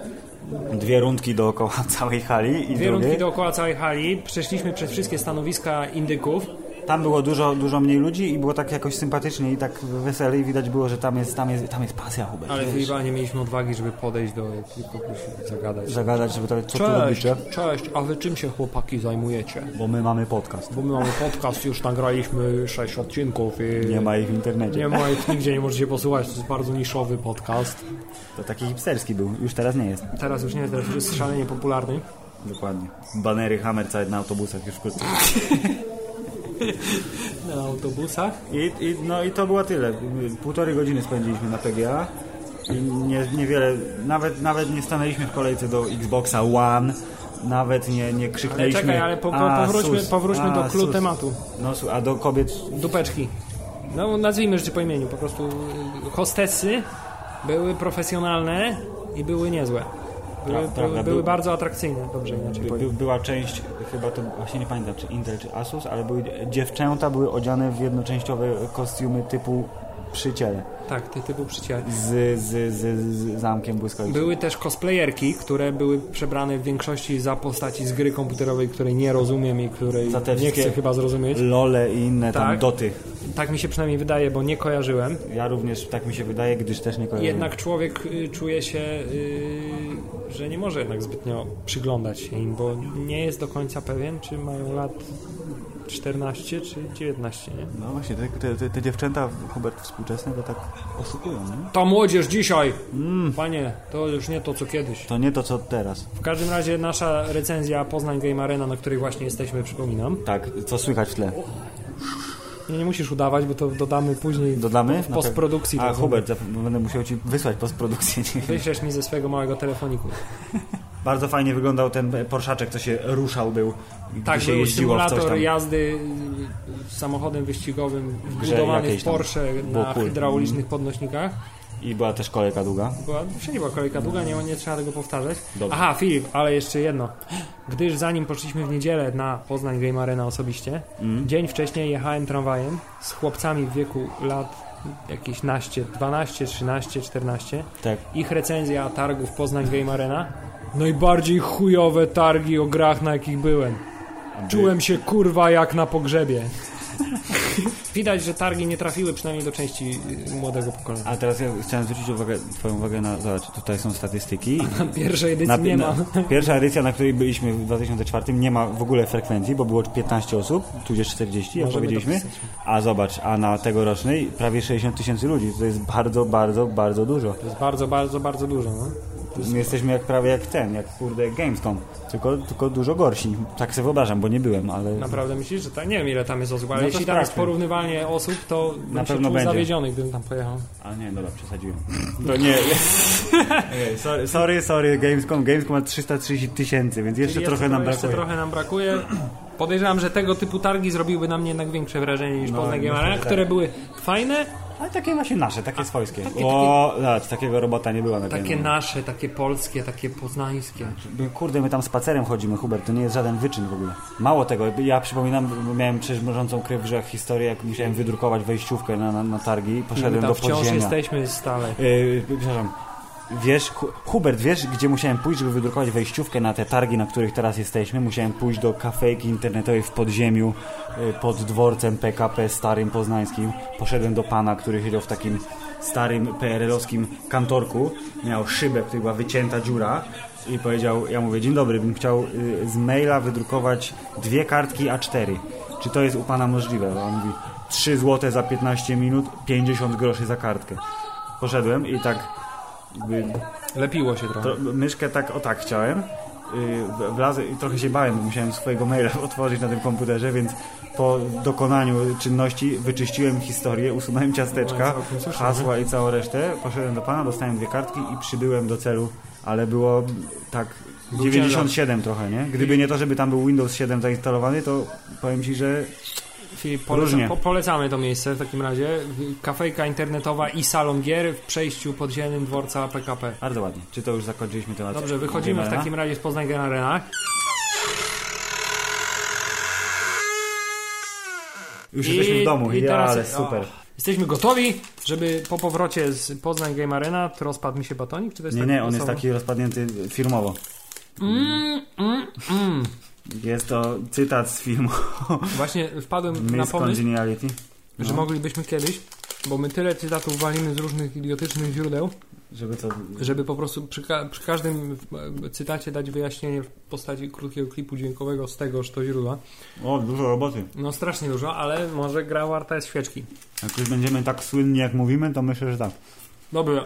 [SPEAKER 1] Dwie rundki dookoła <laughs> całej hali i
[SPEAKER 2] Dwie
[SPEAKER 1] drugiej.
[SPEAKER 2] rundki dookoła całej hali, przeszliśmy przez wszystkie stanowiska indyków.
[SPEAKER 1] Tam było dużo, dużo mniej ludzi i było tak jakoś sympatycznie i tak weselej. Widać było, że tam jest, tam jest, tam jest pasja, Hubert.
[SPEAKER 2] Ale
[SPEAKER 1] wiesz.
[SPEAKER 2] chyba nie mieliśmy odwagi, żeby podejść do kogoś i zagadać.
[SPEAKER 1] Zagadać, żeby to, co tu
[SPEAKER 2] Cześć,
[SPEAKER 1] robicie?
[SPEAKER 2] cześć, a wy czym się chłopaki zajmujecie?
[SPEAKER 1] Bo my mamy podcast.
[SPEAKER 2] Bo my mamy podcast, już nagraliśmy 6 odcinków i
[SPEAKER 1] Nie ma ich w internecie.
[SPEAKER 2] nie ma ich nigdzie, nie możecie posłuchać, to jest bardzo niszowy podcast.
[SPEAKER 1] To taki hipsterski był. Już teraz nie jest.
[SPEAKER 2] Teraz już nie, teraz już jest szalenie popularny.
[SPEAKER 1] Dokładnie. Banery Hammer całe na autobusach już wkrótce.
[SPEAKER 2] Na autobusach?
[SPEAKER 1] I, i, no i to było tyle. Półtorej godziny spędziliśmy na PGA. I nie, niewiele, nawet, nawet nie stanęliśmy w kolejce do Xboxa One, nawet nie, nie
[SPEAKER 2] Ale
[SPEAKER 1] krzyknęliśmy.
[SPEAKER 2] czekaj, ale po, po,
[SPEAKER 1] "A,
[SPEAKER 2] powróćmy,
[SPEAKER 1] sus,
[SPEAKER 2] powróćmy
[SPEAKER 1] a,
[SPEAKER 2] do clou
[SPEAKER 1] sus".
[SPEAKER 2] tematu.
[SPEAKER 1] No, su- a do kobiet
[SPEAKER 2] Dupeczki. No nazwijmy rzeczy po imieniu, po prostu y, hostessy były profesjonalne i były niezłe. Były,
[SPEAKER 1] Tak, prawda,
[SPEAKER 2] były,
[SPEAKER 1] był-
[SPEAKER 2] były bardzo atrakcyjne, dobrze inaczej
[SPEAKER 1] by,
[SPEAKER 2] powiem.
[SPEAKER 1] by, była część, chyba to właśnie nie pamiętam, czy Intel, czy Asus, ale były, dziewczęta były odziane w jednoczęściowe kostiumy typu przyciele
[SPEAKER 2] Tak, ty typu przyjaciel.
[SPEAKER 1] z, z, z, z zamkiem błyskawicowym.
[SPEAKER 2] Były też cosplayerki, które były przebrane w większości za postaci z gry komputerowej, której nie rozumiem i której
[SPEAKER 1] Za te
[SPEAKER 2] nie
[SPEAKER 1] wszystkie-
[SPEAKER 2] chcę chyba zrozumieć.
[SPEAKER 1] Lole i inne tam
[SPEAKER 2] Tak.
[SPEAKER 1] doty.
[SPEAKER 2] Tak mi się przynajmniej wydaje, bo nie kojarzyłem.
[SPEAKER 1] Ja również tak mi się wydaje, gdyż też nie kojarzę.
[SPEAKER 2] Jednak człowiek y, czuje się, y, że nie może jednak zbytnio przyglądać się im, bo nie jest do końca pewien, czy mają lat 14 czy 19, nie?
[SPEAKER 1] No właśnie, te, te, te, te dziewczęta, Hubert, współczesne to tak oszukują, nie?
[SPEAKER 2] Ta młodzież dzisiaj!
[SPEAKER 1] Mm.
[SPEAKER 2] Panie, to już nie to, co kiedyś.
[SPEAKER 1] To nie to, co teraz.
[SPEAKER 2] W każdym razie nasza recenzja Poznań Game Arena, na której właśnie jesteśmy, przypominam.
[SPEAKER 1] Tak, co słychać w tle?
[SPEAKER 2] Nie, nie musisz udawać, bo to dodamy później.
[SPEAKER 1] Dodamy?
[SPEAKER 2] W postprodukcji
[SPEAKER 1] A,
[SPEAKER 2] to
[SPEAKER 1] Hubert, zap- będę musiał ci wysłać postprodukcję.
[SPEAKER 2] <laughs> Wyślesz mi ze swojego małego telefoniku.
[SPEAKER 1] Bardzo fajnie wyglądał ten porszaczek, co się ruszał był. i
[SPEAKER 2] Tak,
[SPEAKER 1] gdzie się
[SPEAKER 2] był
[SPEAKER 1] jeździło w coś
[SPEAKER 2] symulator
[SPEAKER 1] tam.
[SPEAKER 2] jazdy y, samochodem wyścigowym
[SPEAKER 1] grze
[SPEAKER 2] wbudowany
[SPEAKER 1] jakiejś
[SPEAKER 2] w
[SPEAKER 1] tam.
[SPEAKER 2] Porsche
[SPEAKER 1] Było
[SPEAKER 2] na
[SPEAKER 1] cool. Mhm.
[SPEAKER 2] hydraulicznych podnośnikach.
[SPEAKER 1] I była też kolejka długa.
[SPEAKER 2] Była, wszędzie była kolejka długa, nie, nie trzeba tego powtarzać.
[SPEAKER 1] Dobrze.
[SPEAKER 2] Aha, Filip, ale jeszcze jedno. Gdyż zanim poszliśmy w niedzielę na Poznań Game Arena osobiście,
[SPEAKER 1] Mhm.
[SPEAKER 2] dzień wcześniej jechałem tramwajem z chłopcami w wieku lat jakieś naście, 12, 13, 14.
[SPEAKER 1] Tak.
[SPEAKER 2] ich recenzja targów Poznań Game Arena. Najbardziej chujowe targi o grach, na jakich byłem. Czułem się kurwa jak na pogrzebie. <laughs> Widać, że targi nie trafiły przynajmniej do części y, młodego pokolenia.
[SPEAKER 1] A teraz ja chciałem zwrócić uwagę, twoją uwagę na... Zobacz, tutaj są statystyki.
[SPEAKER 2] Pierwszej edycji
[SPEAKER 1] Na-
[SPEAKER 2] nie
[SPEAKER 1] na-
[SPEAKER 2] ma.
[SPEAKER 1] <laughs> Pierwsza edycja, na której byliśmy w 2004, nie ma w ogóle frekwencji, bo było 15 osób, tudzież 40, jak
[SPEAKER 2] Możemy
[SPEAKER 1] powiedzieliśmy.
[SPEAKER 2] dopisać.
[SPEAKER 1] A zobacz, a na tegorocznej prawie 60 tysięcy ludzi. To jest bardzo, bardzo, bardzo dużo.
[SPEAKER 2] To jest bardzo, bardzo, bardzo dużo. No.
[SPEAKER 1] My jesteśmy jak prawie jak ten, jak kurde Gamescom, tylko, tylko dużo gorsi. Tak sobie wyobrażam, bo nie byłem, ale
[SPEAKER 2] Naprawdę myślisz, że tak? Nie wiem ile tam jest osób, ale
[SPEAKER 1] No to
[SPEAKER 2] jeśli tam jest
[SPEAKER 1] sprawdźmy.
[SPEAKER 2] porównywalnie osób, to bym się
[SPEAKER 1] pewno
[SPEAKER 2] czuł
[SPEAKER 1] będzie.
[SPEAKER 2] zawiedziony, gdybym tam pojechał.
[SPEAKER 1] A nie, dobra, przesadziłem. To nie.
[SPEAKER 2] <laughs>
[SPEAKER 1] Okej, sorry, sorry, sorry, Gamescom. Gamescom ma 330 tysięcy, więc jeszcze
[SPEAKER 2] Czyli
[SPEAKER 1] trochę nam
[SPEAKER 2] jeszcze
[SPEAKER 1] brakuje.
[SPEAKER 2] trochę nam brakuje. Podejrzewam, że tego typu targi zrobiłyby na mnie jednak większe wrażenie niż
[SPEAKER 1] No,
[SPEAKER 2] Poznań Game
[SPEAKER 1] myślę,
[SPEAKER 2] Arena,
[SPEAKER 1] że tak.
[SPEAKER 2] które były fajne,
[SPEAKER 1] Ale takie właśnie nasze, takie swojskie. o, zobacz, takiego robota nie była na
[SPEAKER 2] Takie
[SPEAKER 1] Gamescomie.
[SPEAKER 2] nasze, takie polskie, takie poznańskie.
[SPEAKER 1] My, Kurde, my tam spacerem chodzimy, Hubert, to nie jest żaden wyczyn w ogóle. Mało tego, ja przypominam, bo miałem przecież mrożącą krew w żyłach historię, jak musiałem wydrukować wejściówkę na, na, na targi,
[SPEAKER 2] My
[SPEAKER 1] poszedłem
[SPEAKER 2] tam
[SPEAKER 1] do
[SPEAKER 2] wciąż
[SPEAKER 1] podziemia.
[SPEAKER 2] jesteśmy stale.
[SPEAKER 1] Yy, przepraszam. Wiesz, Hu- Hubert, wiesz, gdzie musiałem pójść, żeby wydrukować wejściówkę na te targi, na których teraz jesteśmy? Musiałem pójść do kafejki internetowej w podziemiu yy, pod dworcem PKP starym poznańskim. Poszedłem do pana, który siedział w takim starym PRL-owskim kantorku. Miał szybę, która była wycięta dziura. I powiedział, ja mówię, dzień dobry, bym chciał yy, z maila wydrukować dwie kartki A4. Czy to jest u pana możliwe? A On mówi, 3 złote za 15 minut, 50 groszy za kartkę. Poszedłem i tak jakby,
[SPEAKER 2] Lepiło się trochę.
[SPEAKER 1] to, myszkę tak o tak chciałem. Yy, wlazłem i trochę się bałem, bo musiałem swojego maila <laughs> otworzyć na tym komputerze, więc po dokonaniu czynności wyczyściłem historię, usunąłem ciasteczka,
[SPEAKER 2] No, całkiem słusznie.
[SPEAKER 1] hasła i całą resztę. Poszedłem do pana, dostałem dwie kartki i przybyłem do celu, ale było tak
[SPEAKER 2] Był
[SPEAKER 1] 97 trochę, nie? Gdyby nie to, żeby tam był Windows 7 zainstalowany, to powiem ci, że
[SPEAKER 2] Filip, polecam,
[SPEAKER 1] Różnie.
[SPEAKER 2] po, polecamy to miejsce w takim razie. Kafejka internetowa i salon gier w przejściu podziemnym dworca PKP.
[SPEAKER 1] bardzo ładnie. Czy to już zakończyliśmy temat?
[SPEAKER 2] Dobrze, wychodzimy w
[SPEAKER 1] Gamera?
[SPEAKER 2] takim razie z Poznań Game Arena.
[SPEAKER 1] Już jesteśmy w domu,
[SPEAKER 2] i
[SPEAKER 1] ja,
[SPEAKER 2] teraz-
[SPEAKER 1] ale super.
[SPEAKER 2] o, jesteśmy gotowi, żeby po powrocie z Poznań Game Arena to rozpadł mi się batonik? Czy to jest
[SPEAKER 1] Nie,
[SPEAKER 2] tak
[SPEAKER 1] nie, on jest
[SPEAKER 2] losowo?
[SPEAKER 1] taki rozpadnięty firmowo.
[SPEAKER 2] Mm, mm, mm.
[SPEAKER 1] Jest to cytat z filmu <laughs>
[SPEAKER 2] Właśnie wpadłem na
[SPEAKER 1] Miss
[SPEAKER 2] pomysł,
[SPEAKER 1] Congeniality.
[SPEAKER 2] że
[SPEAKER 1] No,
[SPEAKER 2] moglibyśmy kiedyś, bo my tyle cytatów walimy z różnych idiotycznych źródeł,
[SPEAKER 1] żeby to...
[SPEAKER 2] żeby po prostu przy, ka- przy każdym e, cytacie dać wyjaśnienie w postaci krótkiego klipu dźwiękowego z tegoż to źródła.
[SPEAKER 1] O, dużo roboty.
[SPEAKER 2] No strasznie dużo, ale może gra warta jest świeczki.
[SPEAKER 1] Jak już będziemy tak słynni, jak mówimy, to myślę, że tak.
[SPEAKER 2] Dobra.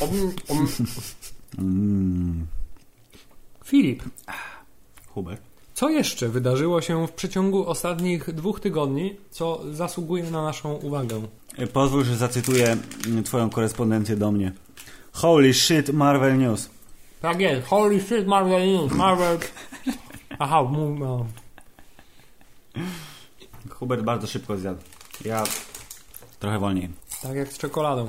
[SPEAKER 2] Om, om.
[SPEAKER 1] Mm.
[SPEAKER 2] Filip,
[SPEAKER 1] Hubert.
[SPEAKER 2] co jeszcze wydarzyło się w przeciągu ostatnich dwóch tygodni, co zasługuje na naszą uwagę?
[SPEAKER 1] Y, Pozwól, że zacytuję y, twoją korespondencję do mnie. Holy shit, Marvel News.
[SPEAKER 2] Tak jest, holy shit, Marvel News, Marvel... Aha, mów, no.
[SPEAKER 1] Hubert bardzo szybko zjadł. Ja trochę wolniej.
[SPEAKER 2] tak jak z czekoladą.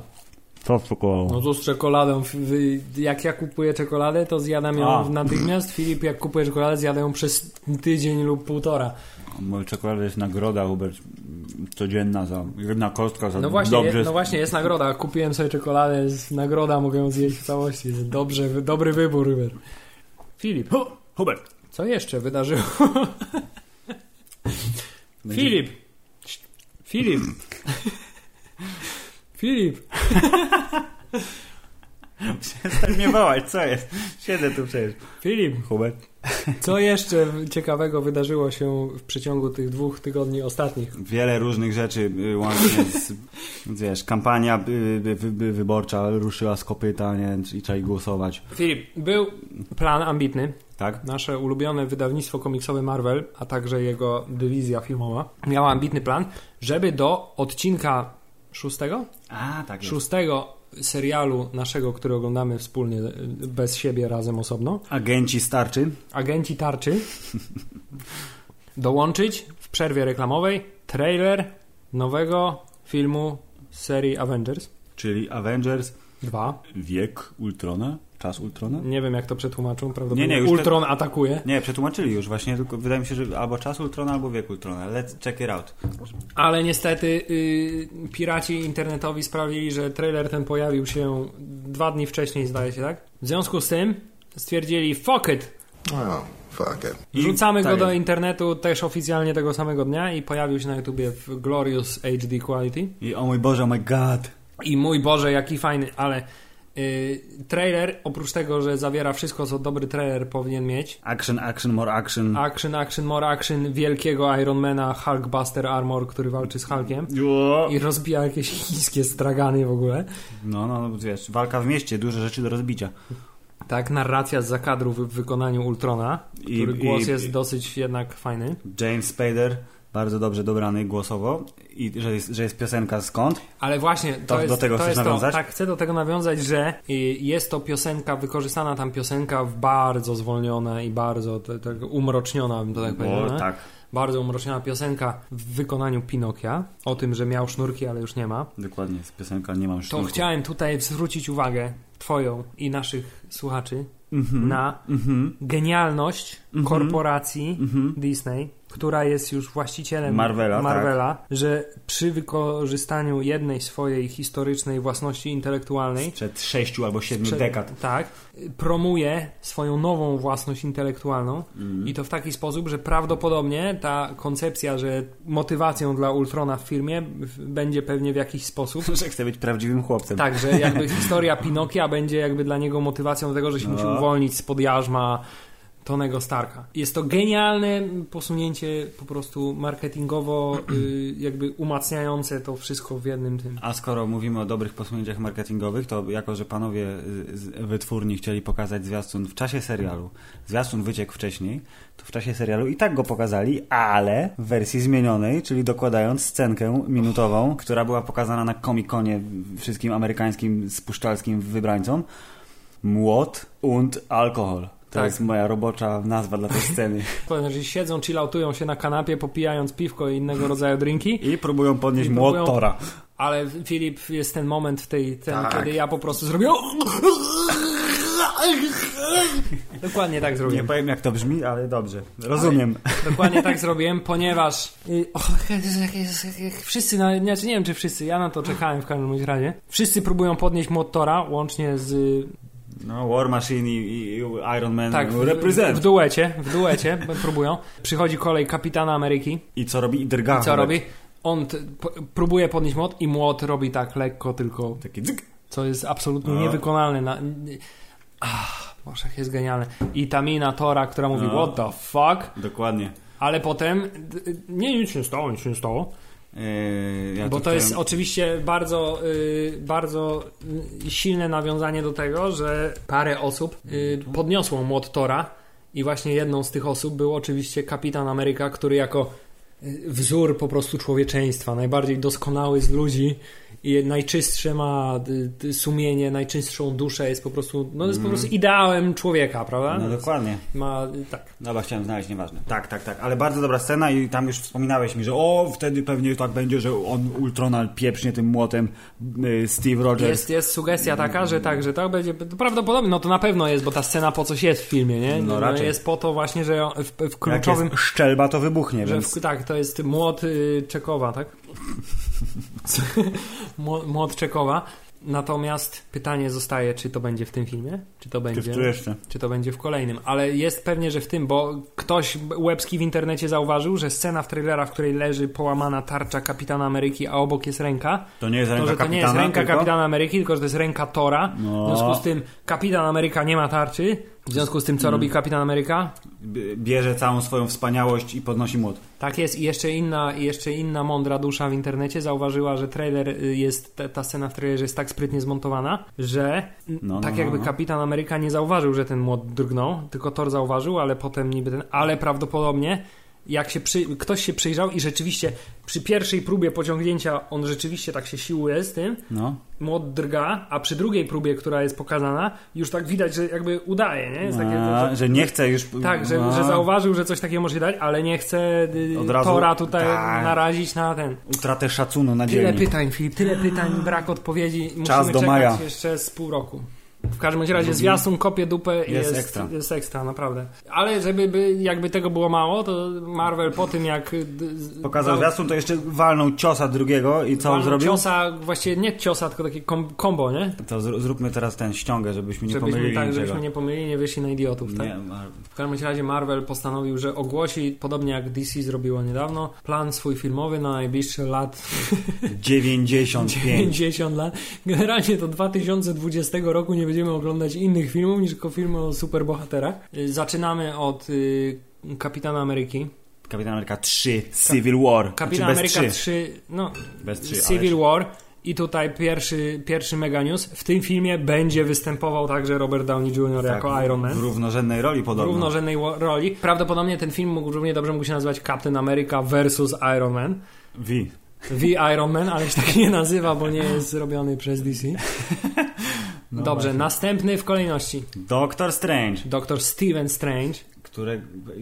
[SPEAKER 1] Co szukowało?
[SPEAKER 2] No to z czekoladą. F- wy- Jak ja kupuję czekoladę, to zjadam ją
[SPEAKER 1] A.
[SPEAKER 2] natychmiast. Filip, jak kupuje czekoladę, zjada ją przez tydzień lub półtora.
[SPEAKER 1] Mój No, czekolada jest nagroda, Hubert. mm, Codzienna za... Jedna kostka za
[SPEAKER 2] No właśnie,
[SPEAKER 1] dobrze...
[SPEAKER 2] no właśnie jest nagroda. Kupiłem sobie czekoladę, jest nagroda, mogę ją zjeść w całości. Jest Dobrze, wy- dobry wybór, Ryber. Filip,
[SPEAKER 1] Hu- Hubert!
[SPEAKER 2] co jeszcze wydarzyło?
[SPEAKER 1] Będzie-
[SPEAKER 2] Filip! Filip! <laughs> Filip!
[SPEAKER 1] <laughs> Przestań mnie wołać, co jest? Siedzę tu przecież.
[SPEAKER 2] Filip!
[SPEAKER 1] Hubert.
[SPEAKER 2] Co jeszcze ciekawego wydarzyło się w przeciągu tych dwóch tygodni ostatnich?
[SPEAKER 1] Wiele różnych rzeczy, y, łącznie z... Wiesz, kampania y, wy- wy- wyborcza ruszyła z kopyta, nie? I trzeba ich głosować.
[SPEAKER 2] Filip, był plan ambitny.
[SPEAKER 1] Tak?
[SPEAKER 2] Nasze ulubione wydawnictwo komiksowe Marvel, a także jego dywizja filmowa, miała ambitny plan, żeby do odcinka szóstego?
[SPEAKER 1] A, tak jest.
[SPEAKER 2] Szóstego serialu naszego, który oglądamy wspólnie, y, bez siebie, razem osobno,
[SPEAKER 1] Agenci starczy. <laughs>
[SPEAKER 2] Agenci Tarczy, dołączyć w przerwie reklamowej trailer nowego filmu z serii Avengers
[SPEAKER 1] Czyli Avengers,
[SPEAKER 2] 2.
[SPEAKER 1] wiek Ultrona, czas Ultrona?
[SPEAKER 2] Nie wiem, jak to przetłumaczą, prawdopodobnie
[SPEAKER 1] Nie, nie, już te-
[SPEAKER 2] Ultron atakuje.
[SPEAKER 1] Nie, przetłumaczyli już właśnie, tylko wydaje mi się, że albo czas Ultrona, albo wiek Ultrona. Let's check it out.
[SPEAKER 2] Ale niestety y, piraci internetowi sprawili, że trailer ten pojawił się dwa dni wcześniej, zdaje się, tak? W związku z tym stwierdzili fuck it,
[SPEAKER 3] Oh, fuck it.
[SPEAKER 1] I
[SPEAKER 2] rzucamy go
[SPEAKER 1] tak
[SPEAKER 2] do
[SPEAKER 1] jest.
[SPEAKER 2] internetu też oficjalnie tego samego dnia i pojawił się na YouTubie w Glorious HD Quality.
[SPEAKER 1] I o mój Boże, oh my god.
[SPEAKER 2] I mój Boże, jaki fajny, ale y, trailer, oprócz tego, że zawiera wszystko, co dobry trailer powinien mieć,
[SPEAKER 1] Action, action, more action.
[SPEAKER 2] action, action, more action, wielkiego Ironmana Hulkbuster Armor, który walczy z Hulkiem
[SPEAKER 1] Jo.
[SPEAKER 2] i rozbija jakieś chińskie stragany w ogóle.
[SPEAKER 1] No, no, no, wiesz, walka w mieście, duże rzeczy do rozbicia.
[SPEAKER 2] Tak, narracja z zakadru w w wykonaniu Ultrona,
[SPEAKER 1] I-
[SPEAKER 2] który
[SPEAKER 1] i-
[SPEAKER 2] głos jest
[SPEAKER 1] i-
[SPEAKER 2] dosyć jednak fajny.
[SPEAKER 1] James Spader, bardzo dobrze dobrany głosowo. I że jest, że jest piosenka skąd?
[SPEAKER 2] Ale właśnie to
[SPEAKER 1] To-
[SPEAKER 2] jest,
[SPEAKER 1] do tego
[SPEAKER 2] to
[SPEAKER 1] chcesz
[SPEAKER 2] jest to,
[SPEAKER 1] nawiązać?
[SPEAKER 2] tak, chcę do tego nawiązać, że y, jest to piosenka, wykorzystana tam piosenka w bardzo zwolniona i bardzo te, tak umroczniona, bym to tak powiedział.
[SPEAKER 1] o,
[SPEAKER 2] nie?
[SPEAKER 1] tak,
[SPEAKER 2] Bardzo umroczniona piosenka w wykonaniu Pinokia, o tym, że miał sznurki, ale już nie ma.
[SPEAKER 1] dokładnie, jest piosenka, nie mam już
[SPEAKER 2] To chciałem tutaj zwrócić uwagę twoją i naszych słuchaczy
[SPEAKER 1] Mhm.
[SPEAKER 2] na
[SPEAKER 1] Mhm.
[SPEAKER 2] genialność
[SPEAKER 1] Mhm.
[SPEAKER 2] korporacji
[SPEAKER 1] Mhm.
[SPEAKER 2] Disney, która jest już właścicielem
[SPEAKER 1] Marvela, tak.
[SPEAKER 2] Marvela że przy wykorzystaniu jednej swojej historycznej własności intelektualnej
[SPEAKER 1] Przed sześciu albo siedmiu
[SPEAKER 2] prze-
[SPEAKER 1] dekad.
[SPEAKER 2] Tak, y, promuje swoją nową własność intelektualną
[SPEAKER 1] Mhm.
[SPEAKER 2] i to w taki sposób, że prawdopodobnie ta koncepcja, że motywacją dla Ultrona w filmie w- będzie pewnie w jakiś sposób.
[SPEAKER 1] <laughs> Że chce być prawdziwym chłopcem.
[SPEAKER 2] Tak, że jakby historia Pinokia będzie jakby dla niego motywacją do tego, że się
[SPEAKER 1] No.
[SPEAKER 2] musi uwolnić spod jarzma Tonego Starka. Jest to genialne posunięcie po prostu marketingowo y, jakby umacniające to wszystko w jednym tym.
[SPEAKER 1] A skoro mówimy o dobrych posunięciach marketingowych, to jako, że panowie z z wytwórni chcieli pokazać zwiastun w czasie serialu, zwiastun wyciekł wcześniej, to w czasie serialu i tak go pokazali, ale w wersji zmienionej, czyli dokładając scenkę minutową, która była pokazana na komikonie wszystkim amerykańskim spuszczalskim wybrańcom. Młot und alkohol. To
[SPEAKER 2] Tak.
[SPEAKER 1] jest moja robocza nazwa dla tej sceny.
[SPEAKER 2] <laughs> To znaczy siedzą, chillautują się na kanapie, popijając piwko i innego rodzaju drinki,
[SPEAKER 1] I próbują podnieść
[SPEAKER 2] I
[SPEAKER 1] młot
[SPEAKER 2] próbują-
[SPEAKER 1] Tora.
[SPEAKER 2] ale Filip jest ten moment w tej, ten,
[SPEAKER 3] Tak.
[SPEAKER 2] kiedy ja po prostu zrobię Dokładnie tak
[SPEAKER 1] Nie
[SPEAKER 2] zrobiłem.
[SPEAKER 1] powiem jak to brzmi, ale dobrze. Rozumiem.
[SPEAKER 2] Dokładnie tak zrobiłem, ponieważ y, o, wszyscy, na, nie, znaczy nie wiem czy wszyscy, ja na to czekałem w każdym bądź razie. Wszyscy próbują podnieść motora, łącznie z y,
[SPEAKER 1] No, War Machine i, i i Iron Man
[SPEAKER 2] tak, w,
[SPEAKER 1] represent.
[SPEAKER 2] w duecie, w duecie bo próbują. Przychodzi kolej kapitana Ameryki.
[SPEAKER 1] I co robi? I drga.
[SPEAKER 2] I co robi? On t, p, próbuje podnieść młot i młot robi tak lekko tylko,
[SPEAKER 1] Taki dzyk.
[SPEAKER 2] co jest absolutnie
[SPEAKER 1] No.
[SPEAKER 2] niewykonalne. Na, nie- Ach, Boże, jak jest genialne. I ta mina Tora, która mówi
[SPEAKER 1] No.
[SPEAKER 2] what the fuck,
[SPEAKER 1] Dokładnie.
[SPEAKER 2] ale potem d- nie, nic się nie stało, nic się nie stało.
[SPEAKER 1] Yy, ja
[SPEAKER 2] Bo
[SPEAKER 1] tu
[SPEAKER 2] to jest
[SPEAKER 1] chciałem-
[SPEAKER 2] oczywiście bardzo, y, bardzo y, silne nawiązanie do tego, że parę osób y,
[SPEAKER 1] Mhm.
[SPEAKER 2] podniosło młot Tora i właśnie jedną z tych osób był oczywiście kapitan Ameryka, który jako y, wzór po prostu człowieczeństwa, najbardziej doskonały z ludzi i najczystsze ma y, y, sumienie, najczystszą duszę, jest po prostu, no jest po prostu ideałem człowieka, prawda?
[SPEAKER 1] Mhm. No dokładnie.
[SPEAKER 2] Ma, y, tak.
[SPEAKER 1] Dobra, chciałem znaleźć, nieważne. Tak, tak, tak, ale bardzo dobra scena i tam już wspominałeś mi, że o, wtedy pewnie tak będzie, że on Ultrona pieprznie tym młotem y, Steve Rogers.
[SPEAKER 2] Jest, jest sugestia taka, że tak, że tak będzie. Prawdopodobnie, no to na pewno jest, bo ta scena po coś jest w filmie, nie?
[SPEAKER 1] No raczej.
[SPEAKER 2] Jest po to właśnie, że w, w
[SPEAKER 1] Jak <laughs>
[SPEAKER 2] kluczowym.
[SPEAKER 1] jest szczelba, to wybuchnie,
[SPEAKER 2] Że
[SPEAKER 1] więc...
[SPEAKER 2] w, tak, to jest młot y, Czekowa, tak? <laughs> Mło- młot Czekowa. Natomiast pytanie zostaje, czy to będzie w tym filmie? Czy to
[SPEAKER 1] Czy w
[SPEAKER 2] będzie.
[SPEAKER 1] tu jeszcze?
[SPEAKER 2] Czy to będzie w kolejnym, ale jest pewnie, że w tym, bo ktoś łebski w internecie zauważył, że scena w trailera, w której leży połamana tarcza kapitana Ameryki, a obok jest ręka,
[SPEAKER 1] To nie jest
[SPEAKER 2] to,
[SPEAKER 1] ręka
[SPEAKER 2] że to nie
[SPEAKER 1] kapitana,
[SPEAKER 2] jest ręka
[SPEAKER 1] tylko?
[SPEAKER 2] kapitana Ameryki, tylko że to jest ręka Tora.
[SPEAKER 1] No.
[SPEAKER 2] W związku z tym kapitan Ameryka nie ma tarczy. W związku z tym,
[SPEAKER 1] Mm.
[SPEAKER 2] co robi kapitan Ameryka?
[SPEAKER 1] B- Bierze całą swoją wspaniałość i podnosi młot.
[SPEAKER 2] Tak jest i jeszcze inna, i jeszcze inna mądra dusza w internecie zauważyła, że trailer y, jest, ta- ta scena w trailerze jest tak sprytnie zmontowana, że n-
[SPEAKER 1] No, no,
[SPEAKER 2] tak
[SPEAKER 1] no,
[SPEAKER 2] jakby
[SPEAKER 1] no.
[SPEAKER 2] kapitan Ameryka nie zauważył, że ten młot drgnął, tylko Thor zauważył, ale potem niby ten, ale prawdopodobnie jak się przy, ktoś się przyjrzał i rzeczywiście przy pierwszej próbie pociągnięcia on rzeczywiście tak się siłuje z tym,
[SPEAKER 1] No.
[SPEAKER 2] młot drga, a przy drugiej próbie, która jest pokazana, już tak widać, że jakby udaje, nie? Jest takie,
[SPEAKER 1] A,
[SPEAKER 2] że,
[SPEAKER 1] że nie chce już... No.
[SPEAKER 2] tak, że,
[SPEAKER 1] A.
[SPEAKER 2] że zauważył, że coś takiego może się dać, ale nie chce y,
[SPEAKER 1] Od razu-
[SPEAKER 2] Tora tutaj
[SPEAKER 1] Tak.
[SPEAKER 2] narazić na ten.
[SPEAKER 1] Utratę szacunu na
[SPEAKER 2] Tyle
[SPEAKER 1] dzielni.
[SPEAKER 2] pytań, Filip, tyle pytań, brak odpowiedzi. Musimy
[SPEAKER 1] Czas do
[SPEAKER 2] czekać
[SPEAKER 1] maja.
[SPEAKER 2] jeszcze z pół roku. W każdym bądź razie zwiastun kopie dupę i
[SPEAKER 1] Jest
[SPEAKER 2] jest,
[SPEAKER 1] ekstra.
[SPEAKER 2] jest ekstra, naprawdę. Ale żeby by, jakby tego było mało, to Marvel po tym jak y, d- z-
[SPEAKER 1] Pokazał
[SPEAKER 2] dał-
[SPEAKER 1] zwiastun, to jeszcze walnął ciosa drugiego i co on
[SPEAKER 2] walnął
[SPEAKER 1] zrobił?
[SPEAKER 2] Ciosa, właściwie nie ciosa, tylko takie kom- kombo, nie?
[SPEAKER 1] To zr- zróbmy teraz ten ściągę, żebyśmy nie
[SPEAKER 2] żebyśmy,
[SPEAKER 1] pomylili
[SPEAKER 2] tak,
[SPEAKER 1] niczego.
[SPEAKER 2] żebyśmy nie pomylili, nie wyszli na idiotów, tak?
[SPEAKER 1] Nie, Mar-
[SPEAKER 2] W każdym razie Marvel postanowił, że ogłosi, podobnie jak DC zrobiło niedawno, plan swój filmowy na najbliższe lat <laughs>
[SPEAKER 1] 95.
[SPEAKER 2] 50 lat. Generalnie do 2020 roku nie będziemy oglądać innych filmów niż tylko filmy o superbohaterach. Y, Zaczynamy od y, Kapitana Ameryki.
[SPEAKER 1] Kapitan Ameryka 3, Civil War.
[SPEAKER 2] Kapitan
[SPEAKER 1] znaczy bez
[SPEAKER 2] Ameryka 3,
[SPEAKER 1] 3.
[SPEAKER 2] no,
[SPEAKER 1] Bez 3
[SPEAKER 2] Civil War. I tutaj pierwszy, pierwszy mega news. W tym filmie będzie występował także Robert Downey Jr.
[SPEAKER 1] Tak.
[SPEAKER 2] jako Iron Man.
[SPEAKER 1] W równorzędnej roli podobno.
[SPEAKER 2] równorzędnej wo- roli. Prawdopodobnie ten film mógł, równie dobrze mógł się nazywać Captain America versus Iron Man.
[SPEAKER 1] V.
[SPEAKER 2] The Iron Man, ale się tak nie nazywa, bo nie jest zrobiony
[SPEAKER 1] <laughs>
[SPEAKER 2] przez DC. Dobrze,
[SPEAKER 1] No właśnie.
[SPEAKER 2] następny w kolejności.
[SPEAKER 1] Doctor Strange,
[SPEAKER 2] Doktor Steven Strange.
[SPEAKER 1] które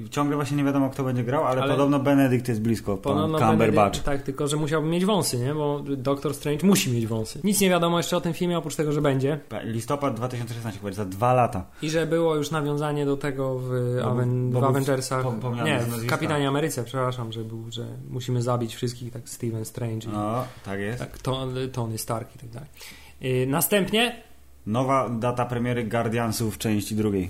[SPEAKER 1] ciągle właśnie nie wiadomo kto będzie grał, ale,
[SPEAKER 2] Ale-
[SPEAKER 1] podobno Benedict jest blisko. Pan
[SPEAKER 2] Podobno
[SPEAKER 1] Cumberbatch.
[SPEAKER 2] Benedict- Tak, tylko że musiałby mieć wąsy, nie? Bo Doktor Strange musi mieć wąsy. Nic nie wiadomo jeszcze o tym filmie, oprócz tego, że będzie.
[SPEAKER 1] Listopad 2016, chyba za dwa lata.
[SPEAKER 2] I że było już nawiązanie do tego w,
[SPEAKER 1] bo-
[SPEAKER 2] Aven-
[SPEAKER 1] bo
[SPEAKER 2] w
[SPEAKER 1] był
[SPEAKER 2] Avengersach.
[SPEAKER 1] wspomniany
[SPEAKER 2] Nie,
[SPEAKER 1] z
[SPEAKER 2] w
[SPEAKER 1] nazwiska.
[SPEAKER 2] Kapitanie Ameryce, przepraszam, że był, że musimy zabić wszystkich, tak Steven Strange. i-
[SPEAKER 1] No, tak jest.
[SPEAKER 2] Tak, Tony, Tony Stark i tak dalej. Yy, następnie
[SPEAKER 1] Nowa data premiery Guardiansów części drugiej.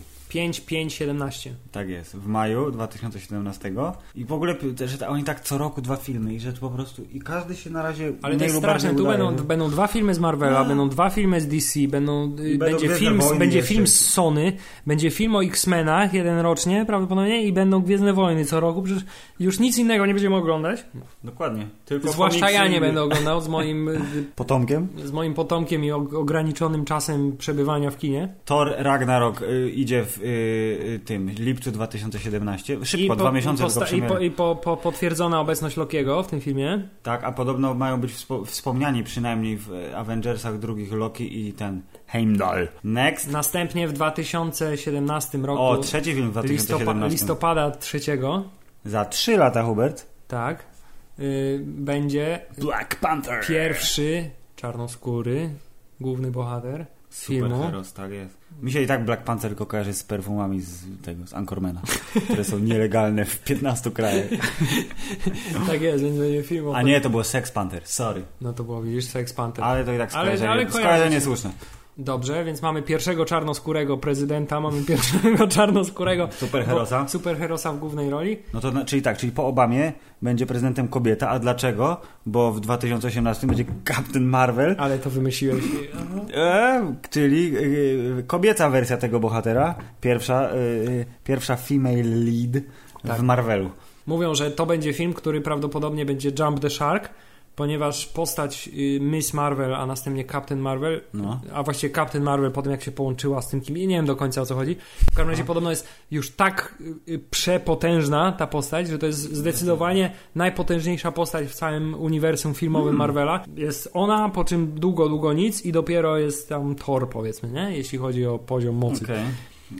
[SPEAKER 2] 5517.
[SPEAKER 1] Tak jest, w maju 2017 i w ogóle p- że ta- oni tak co roku dwa filmy i że to po prostu i każdy się na razie
[SPEAKER 2] Ale to
[SPEAKER 1] mniej
[SPEAKER 2] jest
[SPEAKER 1] lub
[SPEAKER 2] straszne,
[SPEAKER 1] bardziej
[SPEAKER 2] tu
[SPEAKER 1] udaje,
[SPEAKER 2] będą,
[SPEAKER 1] nie?
[SPEAKER 2] będą dwa filmy z Marvela,
[SPEAKER 1] No.
[SPEAKER 2] będą dwa filmy z DC, będą, y,
[SPEAKER 1] I będą
[SPEAKER 2] będzie,
[SPEAKER 1] Gwiezdne
[SPEAKER 2] film, z-
[SPEAKER 1] Wojny
[SPEAKER 2] będzie
[SPEAKER 1] jeszcze.
[SPEAKER 2] film z Sony, będzie film o X-Menach jeden rocznie prawdopodobnie i będą Gwiezdne Wojny co roku, przecież już nic innego nie będziemy oglądać.
[SPEAKER 1] Dokładnie. Tylko
[SPEAKER 2] Zwłaszcza
[SPEAKER 1] komiksy
[SPEAKER 2] ja nie
[SPEAKER 1] i-
[SPEAKER 2] będę
[SPEAKER 1] <laughs>
[SPEAKER 2] oglądał z moim, y,
[SPEAKER 1] Potomkiem?
[SPEAKER 2] z moim potomkiem i og- ograniczonym czasem przebywania w kinie.
[SPEAKER 1] Thor Ragnarok y, idzie w y, y, tym lipcu 2017.
[SPEAKER 2] I
[SPEAKER 1] Szybko,
[SPEAKER 2] po-
[SPEAKER 1] dwa miesiące
[SPEAKER 2] posta-
[SPEAKER 1] tylko
[SPEAKER 2] I, po,
[SPEAKER 1] premiery.
[SPEAKER 2] i po, po, potwierdzona obecność Lokiego w tym filmie.
[SPEAKER 1] Tak, a podobno mają być wspo- wspomniani przynajmniej w y, Avengersach drugich Loki i ten Heimdall. Next.
[SPEAKER 2] Następnie w 2017 roku.
[SPEAKER 1] O, trzeci film w 2017.
[SPEAKER 2] listopa- listopada 3,
[SPEAKER 1] Za trzy lata, Hubert.
[SPEAKER 2] tak, y, będzie
[SPEAKER 1] Black Panther.
[SPEAKER 2] pierwszy czarnoskóry główny bohater z filmu.
[SPEAKER 1] Superheroes, tak jest. Mi się i tak Black Panther tylko kojarzy z perfumami z tego, z Anchormana, które są nielegalne w 15 krajach.
[SPEAKER 2] Tak jest, więc będzie film. o
[SPEAKER 1] A
[SPEAKER 2] tym.
[SPEAKER 1] nie, to było Sex Panther, sorry.
[SPEAKER 2] No to było, widzisz, Sex Panther.
[SPEAKER 1] Ale to i tak
[SPEAKER 2] Ale-
[SPEAKER 1] skojarzenie,
[SPEAKER 2] ale kojarzy
[SPEAKER 1] skojarzenie
[SPEAKER 2] się.
[SPEAKER 1] słuszne.
[SPEAKER 2] Dobrze, więc mamy pierwszego czarnoskórego prezydenta, mamy pierwszego <laughs> czarnoskórego
[SPEAKER 1] Superherosa.
[SPEAKER 2] bo- superherosa w głównej roli.
[SPEAKER 1] No to, na- czyli tak, czyli po Obamie będzie prezydentem kobieta, a dlaczego? Bo w 2018 będzie Captain Marvel,
[SPEAKER 2] Ale to wymyśliłeś.
[SPEAKER 1] e, czyli e, kobieca wersja tego bohatera, pierwsza, e, pierwsza female lead
[SPEAKER 2] Tak.
[SPEAKER 1] w Marvelu.
[SPEAKER 2] Mówią, że to będzie film, który prawdopodobnie będzie Jump the Shark, ponieważ postać y, Miss Marvel, a następnie Captain Marvel,
[SPEAKER 1] No.
[SPEAKER 2] a właściwie Captain Marvel po tym jak się połączyła z tym kim, i nie wiem do końca o co chodzi. W każdym razie podobno jest już tak y, y, przepotężna ta postać, że to jest zdecydowanie najpotężniejsza postać w całym uniwersum filmowym
[SPEAKER 1] Hmm.
[SPEAKER 2] Marvela. Jest ona, po czym długo, długo nic i dopiero jest tam Thor powiedzmy, nie? Jeśli chodzi o poziom mocy.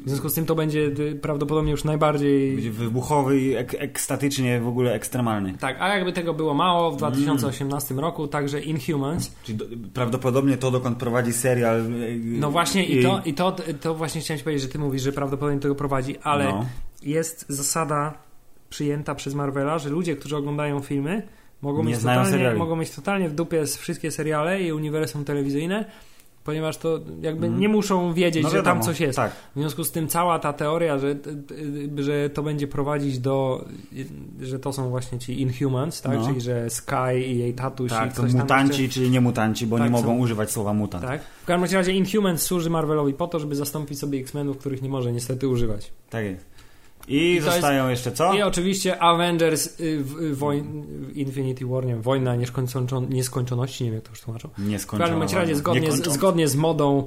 [SPEAKER 2] W związku z tym to będzie y, prawdopodobnie już najbardziej...
[SPEAKER 1] Będzie wybuchowy i ek- ekstatycznie w ogóle ekstremalny.
[SPEAKER 2] Tak, a jakby tego było mało
[SPEAKER 1] Hmm.
[SPEAKER 2] w 2018 roku, także Inhumans.
[SPEAKER 1] Czyli do, prawdopodobnie to, dokąd prowadzi serial. e,
[SPEAKER 2] No właśnie i to, i to, to właśnie chciałem ci powiedzieć, że ty mówisz, że prawdopodobnie tego prowadzi, ale
[SPEAKER 1] No.
[SPEAKER 2] jest zasada przyjęta przez Marvela, że ludzie, którzy oglądają filmy, mogą
[SPEAKER 1] Nie
[SPEAKER 2] mieć,
[SPEAKER 1] znają
[SPEAKER 2] totalnie,
[SPEAKER 1] seriali.
[SPEAKER 2] mogą mieć totalnie w dupie z wszystkie seriale i uniwersum telewizyjne, ponieważ to jakby nie muszą wiedzieć,
[SPEAKER 1] No
[SPEAKER 2] że tam
[SPEAKER 1] wiadomo,
[SPEAKER 2] coś jest.
[SPEAKER 1] Tak.
[SPEAKER 2] W związku z tym cała ta teoria, że, t- t- że to będzie prowadzić do, że to są właśnie ci Inhumans, tak?
[SPEAKER 1] No.
[SPEAKER 2] Czyli że Sky i jej tatuś i
[SPEAKER 1] Tak, to
[SPEAKER 2] ktoś tam
[SPEAKER 1] mutanci, czyli nie mutanci, bo
[SPEAKER 2] Tak,
[SPEAKER 1] nie
[SPEAKER 2] są-
[SPEAKER 1] mogą używać słowa mutant.
[SPEAKER 2] Jeszcze, tak? W każdym razie Inhumans służy Marvelowi po to, żeby zastąpić sobie X-Menów, których nie może niestety używać.
[SPEAKER 1] Tak jest. I,
[SPEAKER 2] I to
[SPEAKER 1] zostają jeszcze co?
[SPEAKER 2] I oczywiście Avengers y, w, y, wojn, w Infinity War, nie wiem, wojna nieskończo- nieskończoności, nie wiem jak to już tłumaczą. W
[SPEAKER 1] Nieskończone.
[SPEAKER 2] każdym bądź razie
[SPEAKER 1] wojny.
[SPEAKER 2] zgodnie z,
[SPEAKER 1] Niekończone.
[SPEAKER 2] zgodnie z modą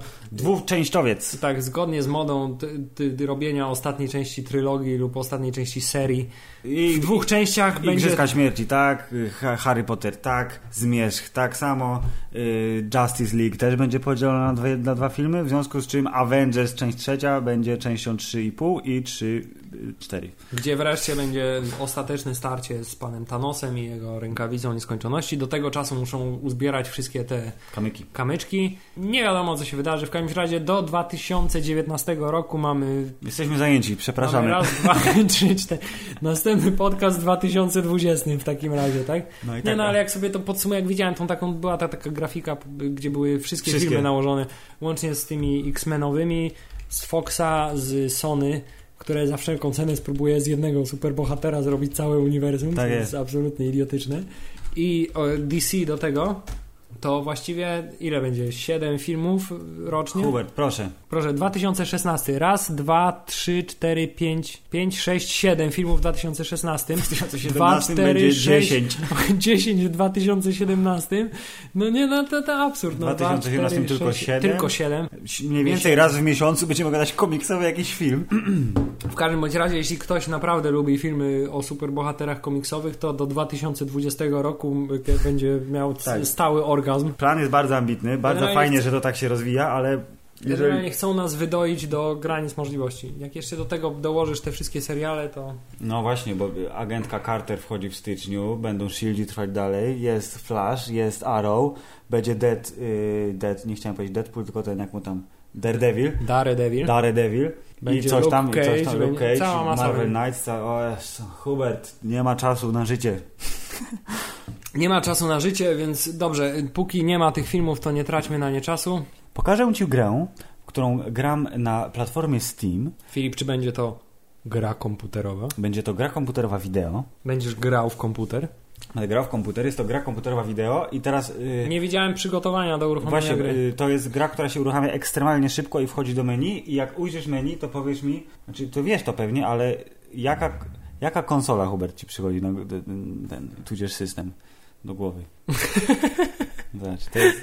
[SPEAKER 1] Dwuczęściowiec.
[SPEAKER 2] Tak, zgodnie z modą ty, ty, ty robienia ostatniej części trylogii lub ostatniej części serii.
[SPEAKER 1] I
[SPEAKER 2] W dwóch częściach będzie.
[SPEAKER 1] Igrzyska Śmierci, tak. Ha- Harry Potter, tak. Zmierzch, tak samo. Y, Justice League też będzie podzielona na, dwie, na dwa filmy, w związku z czym Avengers część trzecia będzie częścią 3,5 i y, 3,4.
[SPEAKER 2] Gdzie wreszcie będzie ostateczne starcie z panem Thanosem i jego rękawicą nieskończoności. Do tego czasu muszą uzbierać wszystkie te
[SPEAKER 1] Kamyki.
[SPEAKER 2] kamyczki. Nie wiadomo, co się wydarzy. W każdym razie do 2019 roku mamy.
[SPEAKER 1] Jesteśmy zajęci,
[SPEAKER 2] mamy
[SPEAKER 1] przepraszamy.
[SPEAKER 2] raz, dwa, <laughs> trzy, cztery. Następny podcast 2020 w takim razie, tak?
[SPEAKER 1] No i
[SPEAKER 2] Nie
[SPEAKER 1] tak,
[SPEAKER 2] no, ale jak sobie to podsumuję, jak widziałem tą taką, była ta taka grafika, p- gdzie były wszystkie,
[SPEAKER 1] Wszystkie.
[SPEAKER 2] filmy nałożone, łącznie z tymi X-Menowymi, z Foxa, z Sony, które za wszelką cenę spróbuje z jednego superbohatera zrobić całe uniwersum,
[SPEAKER 1] Tak
[SPEAKER 2] co jest
[SPEAKER 1] jest.
[SPEAKER 2] absolutnie idiotyczne. I o, DC do tego, to właściwie ile będzie? 7 filmów rocznie?
[SPEAKER 1] Hubert, proszę.
[SPEAKER 2] Proszę, 2016. Raz, dwa, trzy, cztery, pięć, pięć, sześć, siedem filmów w 2016.
[SPEAKER 1] 2017 będzie 10.
[SPEAKER 2] <laughs> 10 w 2017. No nie, no to, to absurd. No,
[SPEAKER 1] W 2017
[SPEAKER 2] dwa, cztery,
[SPEAKER 1] tylko
[SPEAKER 2] sześć,
[SPEAKER 1] siedem.
[SPEAKER 2] Tylko 7.
[SPEAKER 1] Mniej więcej raz w miesiącu będziemy gadać komiksowy jakiś film.
[SPEAKER 2] W każdym bądź razie, jeśli ktoś naprawdę lubi filmy o superbohaterach komiksowych, to do 2020 roku y, będzie miał c-
[SPEAKER 1] Tak.
[SPEAKER 2] stały orgazm.
[SPEAKER 1] Plan jest bardzo ambitny, bardzo
[SPEAKER 2] Generalnie
[SPEAKER 1] fajnie, że to tak się rozwija, ale
[SPEAKER 2] No Generalnie
[SPEAKER 1] jeżeli...
[SPEAKER 2] chcą nas wydoić do granic możliwości. Jak jeszcze do tego dołożysz te wszystkie seriale, to...
[SPEAKER 1] No właśnie, bo agentka Carter wchodzi w styczniu, będą Shieldi trwać dalej, jest Flash, jest Arrow, będzie Dead, y, Dead, nie chciałem powiedzieć Deadpool, tylko ten jak mu tam, Daredevil,
[SPEAKER 2] Daredevil.
[SPEAKER 1] Daredevil
[SPEAKER 2] Będzie
[SPEAKER 1] i coś
[SPEAKER 2] Luke
[SPEAKER 1] tam, i coś
[SPEAKER 2] Cage,
[SPEAKER 1] tam, Luke
[SPEAKER 2] będzie
[SPEAKER 1] Cage,
[SPEAKER 2] cała masa
[SPEAKER 1] Marvel
[SPEAKER 2] ludzi.
[SPEAKER 1] Knights, ca- o Jezu, Hubert, nie ma czasu na życie.
[SPEAKER 2] Nie ma czasu na życie, więc dobrze, póki nie ma tych filmów, to nie traćmy na nie czasu.
[SPEAKER 1] Pokażę Ci grę, którą gram na platformie Steam,
[SPEAKER 2] Filip, czy będzie to gra komputerowa?
[SPEAKER 1] będzie to gra komputerowa wideo,
[SPEAKER 2] Będziesz grał w komputer?
[SPEAKER 1] Ale gra w komputer, jest to gra komputerowa wideo i teraz... y,
[SPEAKER 2] Nie widziałem przygotowania do uruchomienia
[SPEAKER 1] Właśnie,
[SPEAKER 2] gry.
[SPEAKER 1] y, to jest gra, która się uruchamia ekstremalnie szybko i wchodzi do menu i jak ujrzysz menu, to powiesz mi, znaczy to wiesz to pewnie, ale jaka, jaka konsola, Hubert, ci przychodzi, na, d- d- ten, tudzież system do
[SPEAKER 2] <laughs>
[SPEAKER 1] głowy? Zobacz, to jest,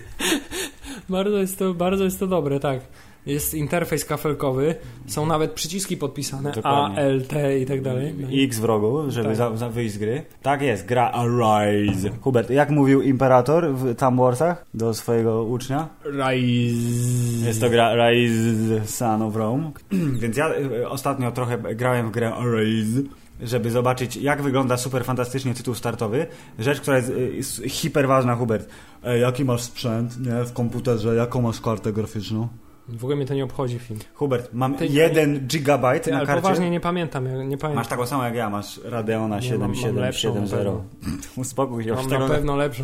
[SPEAKER 2] Bardzo jest, to, bardzo jest to dobre, tak. Jest interfejs kafelkowy, są nawet przyciski podpisane
[SPEAKER 1] Dokładnie.
[SPEAKER 2] A, L, T i tak dalej. No.
[SPEAKER 1] X w rogu, żeby
[SPEAKER 2] Tak.
[SPEAKER 1] za, za wyjść z gry. Tak jest, gra Arise. Hubert, jak mówił Imperator w Thumb Warsach do swojego ucznia?
[SPEAKER 2] Rise.
[SPEAKER 1] Jest to gra Rise Son of Rome. <clears throat> Więc ja y, ostatnio trochę grałem w grę Rise, żeby zobaczyć, jak wygląda super fantastycznie tytuł startowy. Rzecz, która jest, y, jest hiper ważna, Hubert. E, jaki masz sprzęt, nie? W komputerze, jaką masz kartę graficzną?
[SPEAKER 2] W ogóle mnie to nie obchodzi film.
[SPEAKER 1] Hubert, mam
[SPEAKER 2] Ty-
[SPEAKER 1] 1 gigabajt
[SPEAKER 2] Ty,
[SPEAKER 1] na
[SPEAKER 2] ale
[SPEAKER 1] karcie.
[SPEAKER 2] poważnie nie pamiętam, ja nie pamiętam.
[SPEAKER 1] Masz taką samą jak ja, masz Radeona
[SPEAKER 2] Nie, mam- mam lepszą
[SPEAKER 1] 7770. <laughs> Uspokój się,
[SPEAKER 2] Mam
[SPEAKER 1] już
[SPEAKER 2] na
[SPEAKER 1] tego
[SPEAKER 2] pewno lepszą.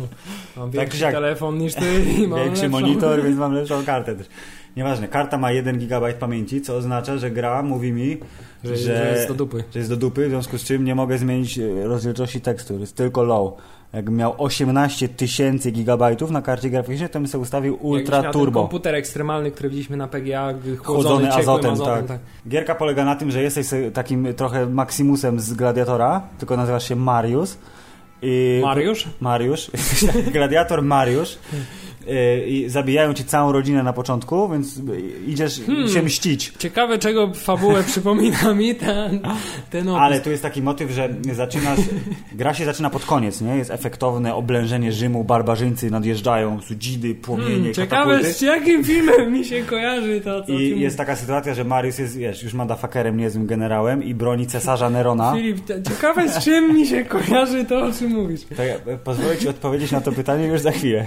[SPEAKER 2] Mam większy
[SPEAKER 1] jak-
[SPEAKER 2] telefon niż ty i <laughs> mam
[SPEAKER 1] większy
[SPEAKER 2] lepszą.
[SPEAKER 1] monitor, więc mam lepszą kartę też. Nieważne, karta ma 1 gigabajt pamięci, co oznacza, że gra mówi mi,
[SPEAKER 2] Że,
[SPEAKER 1] że,
[SPEAKER 2] że jest do dupy.
[SPEAKER 1] że jest do dupy, w związku z czym nie mogę zmienić e, rozdzielczości tekstu, jest tylko low. Jakbym miał 18 tysięcy gigabajtów na karcie graficznej, to bym sobie ustawił
[SPEAKER 2] Jakbyś
[SPEAKER 1] ultra
[SPEAKER 2] miał ten
[SPEAKER 1] turbo.
[SPEAKER 2] komputer ekstremalny, który widzieliśmy na PGA, chłodzony,
[SPEAKER 1] Chłodzony
[SPEAKER 2] ciekłym azotem,
[SPEAKER 1] azotem, tak.
[SPEAKER 2] tak.
[SPEAKER 1] Gierka polega na tym, że jesteś se- takim trochę Maximusem z Gladiatora, tylko nazywasz się Marius. I
[SPEAKER 2] Mariusz?
[SPEAKER 1] Mariusz, <laughs> jesteś taki gladiator Mariusz Y, i zabijają ci całą rodzinę na początku, więc y, idziesz
[SPEAKER 2] Hmm.
[SPEAKER 1] się mścić.
[SPEAKER 2] Ciekawe, czego fabułę <laughs> przypomina mi ten, ten opis.
[SPEAKER 1] Ale tu jest taki motyw, że zaczynasz, gra się zaczyna pod koniec, nie? Jest efektowne oblężenie Rzymu, barbarzyńcy nadjeżdżają, cudzidy, płomienie,
[SPEAKER 2] Hmm, ciekawe,
[SPEAKER 1] katapulty.
[SPEAKER 2] z jakim filmem mi się kojarzy to, co ty
[SPEAKER 1] I jest tak- taka sytuacja, że Mariusz jest, wiesz, już motherfuckerem, niezłym generałem i broni cesarza Nerona.
[SPEAKER 2] Filip, te- ciekawe z czym mi się kojarzy to, o czym mówisz.
[SPEAKER 1] To ja e, pozwolę ci odpowiedzieć na to pytanie już za chwilę.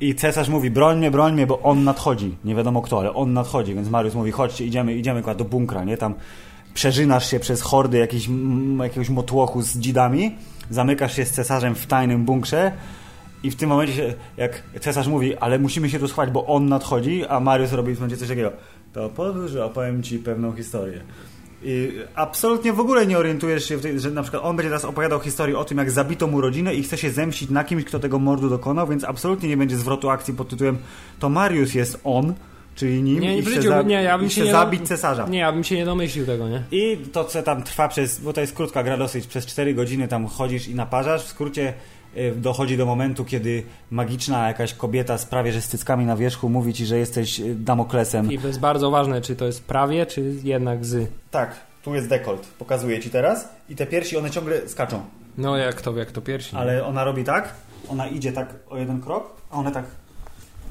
[SPEAKER 1] I cesarz mówi, broń mnie, broń mnie, bo on nadchodzi. Nie wiadomo kto, ale on nadchodzi, więc Mariusz mówi, chodźcie, idziemy, idziemy kurwa, do bunkra, nie? Tam przeżynasz się przez hordy jakichś, mm, jakiegoś motłochu z dzidami, zamykasz się z cesarzem w tajnym bunkrze i w tym momencie, się- jak cesarz mówi, ale musimy się tu schować, bo on nadchodzi, a Mariusz robi w momencie coś takiego, to podróż, opowiem ci pewną historię. I absolutnie w ogóle nie orientujesz się, w tej, że na przykład on będzie teraz opowiadał historię o tym, jak zabito mu rodzinę i chce się zemścić na kimś, kto tego mordu dokonał, więc absolutnie nie będzie zwrotu akcji pod tytułem to Mariusz jest on, czyli nim
[SPEAKER 2] Nie,
[SPEAKER 1] i
[SPEAKER 2] w
[SPEAKER 1] chce,
[SPEAKER 2] życiu,
[SPEAKER 1] za-
[SPEAKER 2] nie, ja bym
[SPEAKER 1] i
[SPEAKER 2] się
[SPEAKER 1] chce
[SPEAKER 2] nie-
[SPEAKER 1] zabić cesarza.
[SPEAKER 2] Nie, ja bym się nie domyślił tego, nie?
[SPEAKER 1] I to, co tam trwa przez, bo to jest krótka gra dosyć, przez 4 godziny tam chodzisz i naparzasz, w skrócie y, dochodzi do momentu, kiedy magiczna jakaś kobieta z prawie że z cyckami na wierzchu mówi ci, że jesteś y, Damoklesem.
[SPEAKER 2] I to jest bardzo ważne, czy to jest prawie, czy jednak z.
[SPEAKER 1] Tak, tu jest dekolt, pokazuję ci teraz i te piersi, one ciągle skaczą.
[SPEAKER 2] No jak to, jak to piersi.
[SPEAKER 1] Ale ona robi tak, ona idzie tak o jeden krok, a one tak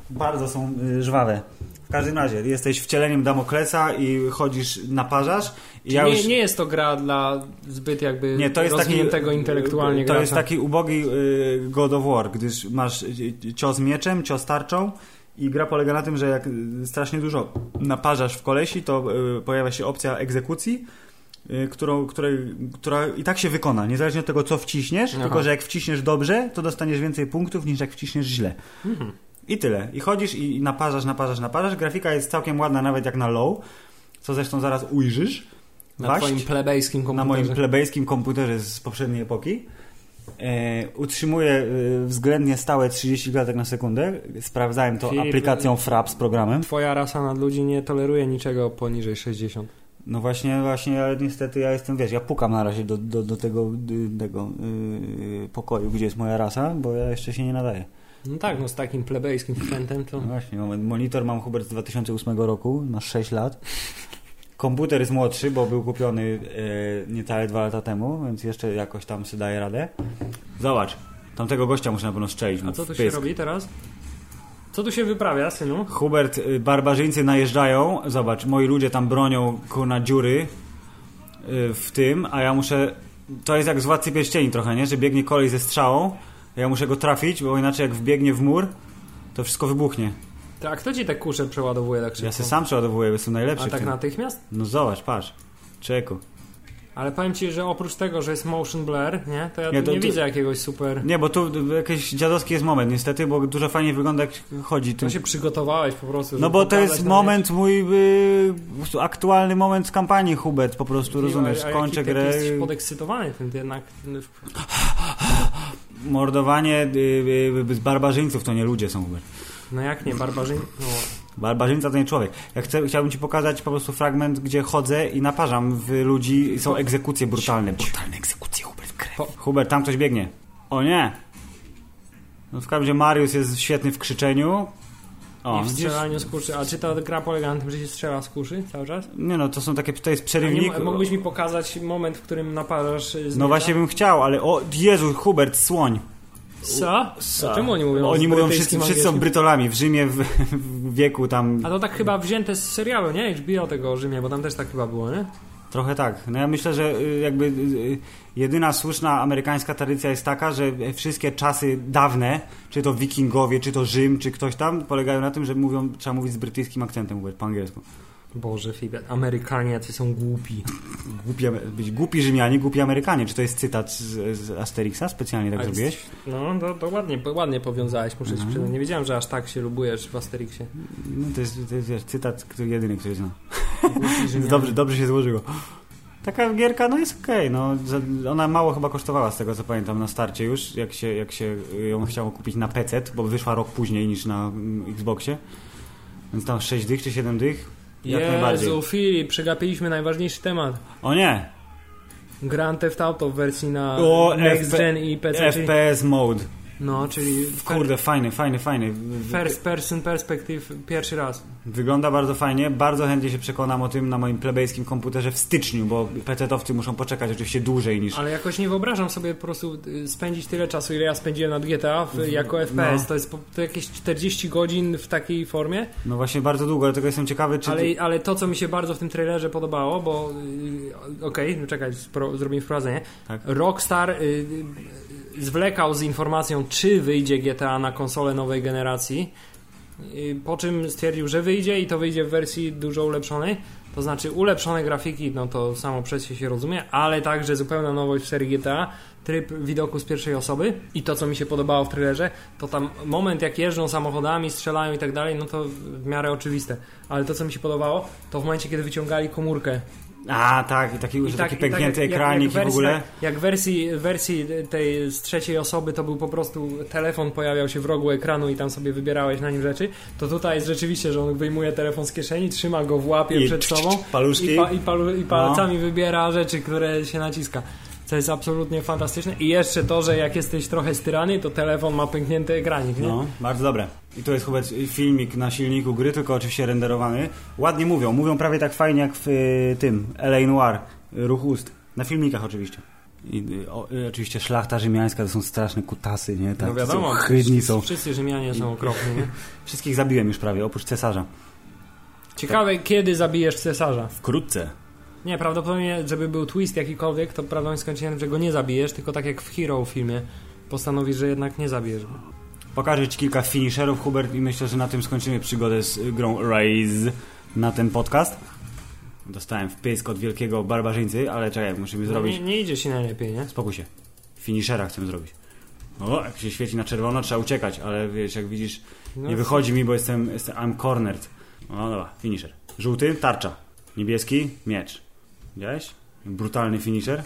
[SPEAKER 1] bardzo są y, żwawe. W każdym razie, jesteś wcieleniem Damoklesa i chodzisz, naparzasz. I ja
[SPEAKER 2] nie,
[SPEAKER 1] już...
[SPEAKER 2] nie jest to gra dla zbyt jakby
[SPEAKER 1] Nie, to jest taki y,
[SPEAKER 2] rozwiniętego intelektualnie
[SPEAKER 1] To
[SPEAKER 2] gracza.
[SPEAKER 1] jest taki ubogi y, God of War, gdyż masz y, cios mieczem, cios tarczą i gra polega na tym, że jak y, strasznie dużo naparzasz w kolesi, to y, pojawia się opcja egzekucji, y, którą, której, która i tak się wykona, niezależnie od tego, co wciśniesz,
[SPEAKER 2] Aha.
[SPEAKER 1] tylko że jak wciśniesz dobrze, to dostaniesz więcej punktów niż jak wciśniesz źle.
[SPEAKER 2] Mhm.
[SPEAKER 1] I tyle. I chodzisz i i naparzasz, naparzasz, naparzasz. Grafika jest całkiem ładna nawet jak na low, co zresztą zaraz ujrzysz.
[SPEAKER 2] na
[SPEAKER 1] Waść.
[SPEAKER 2] twoim plebejskim
[SPEAKER 1] Na
[SPEAKER 2] komputerze.
[SPEAKER 1] moim plebejskim komputerze z poprzedniej epoki. E, utrzymuje e, względnie stałe 30 klatek na sekundę. Sprawdzałem to
[SPEAKER 2] Filip-
[SPEAKER 1] aplikacją Frap z programem.
[SPEAKER 2] Twoja rasa nad ludzi nie toleruje niczego poniżej 60.
[SPEAKER 1] No właśnie, właśnie, ale niestety ja jestem, wiesz, ja pukam na razie do, do, do tego, y, tego y, pokoju, gdzie jest moja rasa, bo ja jeszcze się nie nadaję.
[SPEAKER 2] No tak, no z takim plebejskim wkrętem to...
[SPEAKER 1] No właśnie, moment. Monitor mam Hubert z 2008 roku, ma 6 lat. Komputer jest młodszy, bo był kupiony e, niecałe 2 lata temu, więc jeszcze jakoś tam sobie daje radę. Zobacz, tamtego gościa muszę na pewno strzelić. mu
[SPEAKER 2] A co
[SPEAKER 1] w
[SPEAKER 2] tu się
[SPEAKER 1] pysk.
[SPEAKER 2] robi teraz? Co tu się wyprawia, synu?
[SPEAKER 1] Hubert, y, barbarzyńcy najeżdżają. Zobacz, moi ludzie tam bronią na dziury y, w tym, a ja muszę. To jest jak z władcy pierścieni trochę, nie? Że biegnie kolej ze strzałą, a ja muszę go trafić, bo inaczej jak wbiegnie w mur, to wszystko wybuchnie.
[SPEAKER 2] Ty, A kto ci te kusze przeładowuje tak szybko?
[SPEAKER 1] Ja se sam przeładowuję, bo jestem najlepszy.
[SPEAKER 2] A
[SPEAKER 1] w
[SPEAKER 2] tak
[SPEAKER 1] tym.
[SPEAKER 2] natychmiast?
[SPEAKER 1] No zobacz, patrz. Czeku.
[SPEAKER 2] Ale powiem ci, że oprócz tego, że jest motion blur, nie? To ja
[SPEAKER 1] Nie,
[SPEAKER 2] tu
[SPEAKER 1] to-
[SPEAKER 2] nie
[SPEAKER 1] to-
[SPEAKER 2] widzę jakiegoś super...
[SPEAKER 1] Nie, bo tu jakiś dziadowski jest moment niestety, bo dużo fajnie wygląda jak chodzi tu.
[SPEAKER 2] To się przygotowałeś po prostu.
[SPEAKER 1] No
[SPEAKER 2] żeby
[SPEAKER 1] bo to
[SPEAKER 2] pokazać
[SPEAKER 1] jest
[SPEAKER 2] nam
[SPEAKER 1] moment mój, y, po prostu aktualny moment z kampanii Hubert, po prostu,
[SPEAKER 2] jakieś-
[SPEAKER 1] rozumiesz,
[SPEAKER 2] A- a
[SPEAKER 1] kończę
[SPEAKER 2] jaki ty
[SPEAKER 1] grę,
[SPEAKER 2] Jesteś podekscytowany tym, ty jednak...
[SPEAKER 1] mordowanie y, y, y, z barbarzyńców, to nie ludzie są Hubert.
[SPEAKER 2] No jak nie, barbarzyń... No.
[SPEAKER 1] Barbarzyńca to nie człowiek. Ja chcę, chciałbym ci pokazać po prostu fragment, gdzie chodzę i naparzam w ludzi i są egzekucje brutalne. Brutalne egzekucje, Hubert, krew.
[SPEAKER 2] Po-
[SPEAKER 1] Hubert, tam ktoś biegnie. O nie! No w każdym razie Mariusz jest świetny w krzyczeniu. O,
[SPEAKER 2] I w
[SPEAKER 1] widzisz?
[SPEAKER 2] strzelaniu z kuszy. A czy ta gra polega na tym, że się strzela z kuszy cały czas?
[SPEAKER 1] Nie no, to są takie, to jest
[SPEAKER 2] A Nie,
[SPEAKER 1] przerywnik.
[SPEAKER 2] mo- mógłbyś mi pokazać moment, w którym naparzasz y, z
[SPEAKER 1] No
[SPEAKER 2] miecza?
[SPEAKER 1] właśnie bym chciał, ale o Jezu, Hubert, słoń.
[SPEAKER 2] Sa? Sa. Czemu oni mówią
[SPEAKER 1] Oni
[SPEAKER 2] z
[SPEAKER 1] mówią, wszyscy,
[SPEAKER 2] brytyjskim
[SPEAKER 1] wszyscy są
[SPEAKER 2] angielskim?
[SPEAKER 1] Brytolami. W Rzymie w, w wieku tam...
[SPEAKER 2] A to tak chyba wzięte z serialu, nie? HBO tego o Rzymie, bo tam też tak chyba było, nie?
[SPEAKER 1] Trochę tak. No ja myślę, że y, jakby y, jedyna słuszna amerykańska tradycja jest taka, że wszystkie czasy dawne, czy to wikingowie, czy to Rzym, czy ktoś tam, polegają na tym, że mówią, trzeba mówić z brytyjskim akcentem mówić po angielsku.
[SPEAKER 2] Boże, Fibet, Amerykanie jacy są głupi.
[SPEAKER 1] Głupi, Amer- być głupi Rzymianie, głupi Amerykanie. Czy to jest cytat z, z Asterixa? Specjalnie tak
[SPEAKER 2] A
[SPEAKER 1] zrobiłeś?
[SPEAKER 2] No, to, to ładnie, ładnie powiązałeś, muszę ci
[SPEAKER 1] Mhm.
[SPEAKER 2] przyznać. Nie wiedziałem, że aż tak się lubujesz w Asterixie.
[SPEAKER 1] No to jest, to jest wiesz, cytat, który jedyny, który znam.
[SPEAKER 2] Głupi Rzymianie.
[SPEAKER 1] Więc <laughs> dobrze, dobrze się złożyło. Taka gierka, no jest okej, no, za- ona mało chyba kosztowała z tego co pamiętam na starcie już, jak się, jak się ją chciało kupić na PC, bo wyszła rok później niż na mm, Xboxie, więc tam 6 dych czy 7 dych, jak najbardziej.
[SPEAKER 2] Jezu, Filip, przegapiliśmy najważniejszy temat.
[SPEAKER 1] O nie,
[SPEAKER 2] Grand Theft Auto w wersji na
[SPEAKER 1] O,
[SPEAKER 2] Next
[SPEAKER 1] FP
[SPEAKER 2] Gen i PC, czyli,
[SPEAKER 1] FPS mode,
[SPEAKER 2] no, czyli fir-
[SPEAKER 1] kurde, fajny, fajny, fajny, W-
[SPEAKER 2] First Person Perspective pierwszy raz.
[SPEAKER 1] wygląda bardzo fajnie, bardzo chętnie się przekonam o tym na moim plebejskim komputerze w styczniu, bo PC-towcy muszą poczekać oczywiście dłużej niż...
[SPEAKER 2] Ale jakoś nie wyobrażam sobie po prostu y, spędzić tyle czasu, ile ja spędziłem nad GTA w, jako FPS. To jest po, to jakieś 40 godzin w takiej formie.
[SPEAKER 1] No właśnie bardzo długo, dlatego jestem ciekawy, czy...
[SPEAKER 2] Ale, ale to, co mi się bardzo w tym trailerze podobało, bo y, okej, no czekaj, spro, zrobimy wprowadzenie.
[SPEAKER 1] Tak.
[SPEAKER 2] Rockstar y, y, zwlekał z informacją, czy wyjdzie GTA na konsole nowej generacji. Y, po czym stwierdził, że wyjdzie i to wyjdzie w wersji dużo ulepszonej. To znaczy ulepszone grafiki, no to samo przez się się rozumie, ale także zupełna nowość w serii GTA, tryb widoku z pierwszej osoby i to, co mi się podobało w trailerze, to tam moment jak jeżdżą samochodami, strzelają i tak dalej, no to w miarę oczywiste. Ale to, co mi się podobało, to w momencie, kiedy wyciągali komórkę
[SPEAKER 1] A, tak, i taki, że taki
[SPEAKER 2] i tak
[SPEAKER 1] pęknięty
[SPEAKER 2] jak- jak
[SPEAKER 1] ekranik i w
[SPEAKER 2] wersji-
[SPEAKER 1] ogóle.
[SPEAKER 2] Jak wersji, wersji tej z trzeciej osoby to był po prostu telefon pojawiał się w rogu ekranu i tam sobie wybierałeś na nim rzeczy, to tutaj jest rzeczywiście, że on wyjmuje telefon z kieszeni, trzyma go w łapie
[SPEAKER 1] I
[SPEAKER 2] przed
[SPEAKER 1] cz, cz,
[SPEAKER 2] sobą
[SPEAKER 1] cz, paluszki. No.
[SPEAKER 2] i, pa, i, palu, i palcami wybiera rzeczy, które się naciska. Co jest absolutnie fantastyczne. I jeszcze to, że jak jesteś trochę styrany, to telefon ma pęknięty ekranik, nie?
[SPEAKER 1] No, bardzo dobre. I to jest chyba filmik na silniku gry, tylko oczywiście renderowany. Ładnie mówią, mówią prawie tak fajnie jak w y, tym LA Noir, y, ruch ust. Na filmikach oczywiście. I, y, o, y, oczywiście szlachta rzymiańska to są straszne kutasy, nie? Tak,
[SPEAKER 2] no wiadomo,
[SPEAKER 1] są, chrydni są.
[SPEAKER 2] wszyscy Rzymianie są okropni, nie?
[SPEAKER 1] Wszystkich zabiłem już prawie, oprócz cesarza.
[SPEAKER 2] Ciekawe, kiedy zabijesz cesarza.
[SPEAKER 1] Wkrótce.
[SPEAKER 2] Nie, prawdopodobnie, żeby był twist jakikolwiek, to prawdopodobnie skończyłem, że go nie zabijesz, tylko tak jak w Hero filmie postanowisz, że jednak nie zabijesz go.
[SPEAKER 1] Pokażę Ci kilka finisherów, Hubert, i myślę, że na tym skończymy przygodę z y, grą Rise na ten podcast. Dostałem wpysk od wielkiego barbarzyńcy, ale czekaj, musimy zrobić...
[SPEAKER 2] Nie, nie idzie ci najlepiej, nie?
[SPEAKER 1] Spokój się. Finishera chcę zrobić. O, jak się świeci na czerwono, trzeba uciekać, ale wiesz, jak widzisz,
[SPEAKER 2] No,
[SPEAKER 1] nie wychodzi mi, bo jestem, jestem I'm cornered. No dobra, finisher. Żółty, tarcza. Niebieski, miecz. Widziałeś? Brutalny finisher.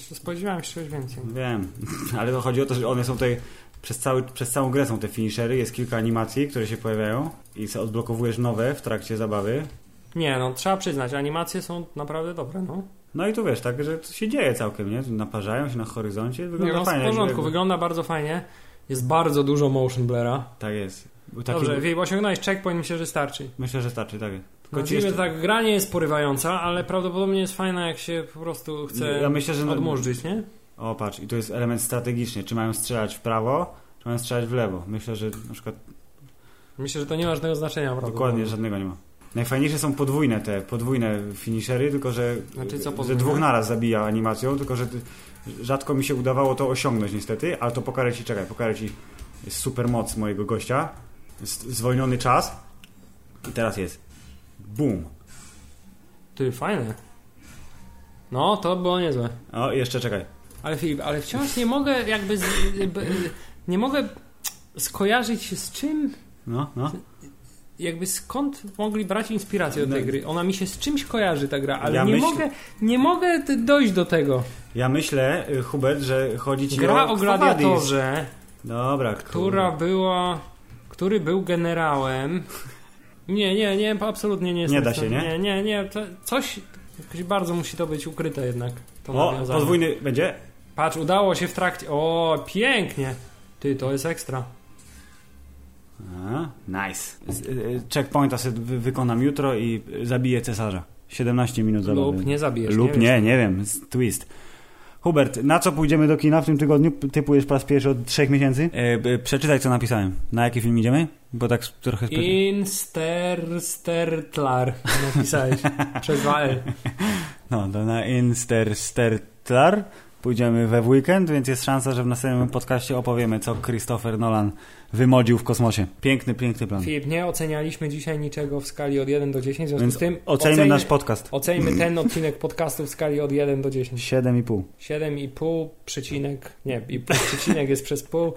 [SPEAKER 2] Spodziewałem się czegoś więcej.
[SPEAKER 1] Wiem, <laughs> ale to chodzi o to, że one są tutaj, przez, cały, przez całą grę są te finishery, jest kilka animacji, które się pojawiają i se odblokowujesz nowe w trakcie zabawy.
[SPEAKER 2] Nie, no trzeba przyznać, animacje są naprawdę dobre, no.
[SPEAKER 1] No i tu wiesz, tak, że to się dzieje całkiem, nie? Naparzają się na horyzoncie,
[SPEAKER 2] Nie,
[SPEAKER 1] wygląda
[SPEAKER 2] no w
[SPEAKER 1] fajnie.
[SPEAKER 2] porządku, wygląda bardzo fajnie. Jest bardzo dużo motion blura.
[SPEAKER 1] Tak jest. Był taki-
[SPEAKER 2] Dobrze, wie, osiągnąłeś checkpoint, myślę, że starczy.
[SPEAKER 1] Myślę, że starczy, tak jest. Tylko ci
[SPEAKER 2] Nazwijmy
[SPEAKER 1] jeszcze...
[SPEAKER 2] tak, gra nie jest porywająca, ale prawdopodobnie jest fajna, jak się po prostu chce
[SPEAKER 1] Ja myślę, że...
[SPEAKER 2] odmurzyć, nie?
[SPEAKER 1] O, patrz, i tu jest element strategiczny. Czy mają strzelać w prawo, czy mają strzelać w lewo. Myślę, że na przykład
[SPEAKER 2] Myślę, że to nie ma żadnego znaczenia, prawda?
[SPEAKER 1] dokładnie żadnego nie ma. Najfajniejsze są podwójne te, podwójne finishery, tylko że, e,
[SPEAKER 2] Znaczy, co
[SPEAKER 1] że
[SPEAKER 2] podwójne?
[SPEAKER 1] dwóch naraz zabija animacją, tylko że ty- rzadko mi się udawało to osiągnąć niestety, ale to pokażę ci, czekaj, pokażę ci jest super moc mojego gościa, jest zwolniony czas i teraz jest boom.
[SPEAKER 2] Ty, fajne. No, to było niezłe.
[SPEAKER 1] O, jeszcze czekaj.
[SPEAKER 2] Ale Filip, ale wciąż nie mogę jakby... Z, b, nie mogę skojarzyć się z czym...
[SPEAKER 1] No, no.
[SPEAKER 2] Jakby skąd mogli brać inspirację do tej
[SPEAKER 1] No.
[SPEAKER 2] gry? Ona mi się z czymś kojarzy, ta gra, ale
[SPEAKER 1] Ja
[SPEAKER 2] nie,
[SPEAKER 1] myślę-
[SPEAKER 2] mogę, nie mogę t- dojść do tego.
[SPEAKER 1] Ja myślę, y, Hubert, że chodzi ci
[SPEAKER 2] Gra
[SPEAKER 1] o
[SPEAKER 2] o
[SPEAKER 1] Quo Vadis.
[SPEAKER 2] gladiatorze,
[SPEAKER 1] Dobra,
[SPEAKER 2] która była... który był generałem... Nie, nie, nie, absolutnie nie jestem...
[SPEAKER 1] da
[SPEAKER 2] w stanie-
[SPEAKER 1] się, nie?
[SPEAKER 2] Nie, nie, nie, to coś... Jakoś bardzo musi to być ukryte jednak. To
[SPEAKER 1] O,
[SPEAKER 2] nawiązanie.
[SPEAKER 1] podwójny będzie?
[SPEAKER 2] Patrz, udało się w trakcie. O, pięknie! Ty, to jest ekstra.
[SPEAKER 1] A, nice. Z- y, y, Checkpointa sobie wy- wykonam jutro i y, zabiję cesarza. 17 minut zabawy.
[SPEAKER 2] Lub nie zabijesz.
[SPEAKER 1] Lub
[SPEAKER 2] wiesz.
[SPEAKER 1] nie, nie wiem. S- Twist. Hubert, na co pójdziemy do kina w tym tygodniu? P- Typujesz po raz pierwszy od trzech miesięcy. E, e, przeczytaj, co napisałem. Na jaki film idziemy? Bo tak s- trochę... spe- <laughs>
[SPEAKER 2] Insterstertlar napisałeś przez 2L.
[SPEAKER 1] No, to na Interstellar pójdziemy we w weekend, więc jest szansa, że w następnym podcaście opowiemy, co Christopher Nolan wymodził w kosmosie. Piękny, piękny plan.
[SPEAKER 2] Filip, nie ocenialiśmy dzisiaj niczego w skali od 1 do 10, w związku
[SPEAKER 1] Więc
[SPEAKER 2] z tym
[SPEAKER 1] ocenimy nasz podcast.
[SPEAKER 2] ocenimy ten odcinek podcastu w skali od 1 do 10.
[SPEAKER 1] 7,5.
[SPEAKER 2] 7,5 przecinek, nie, i pół przecinek jest przez pół.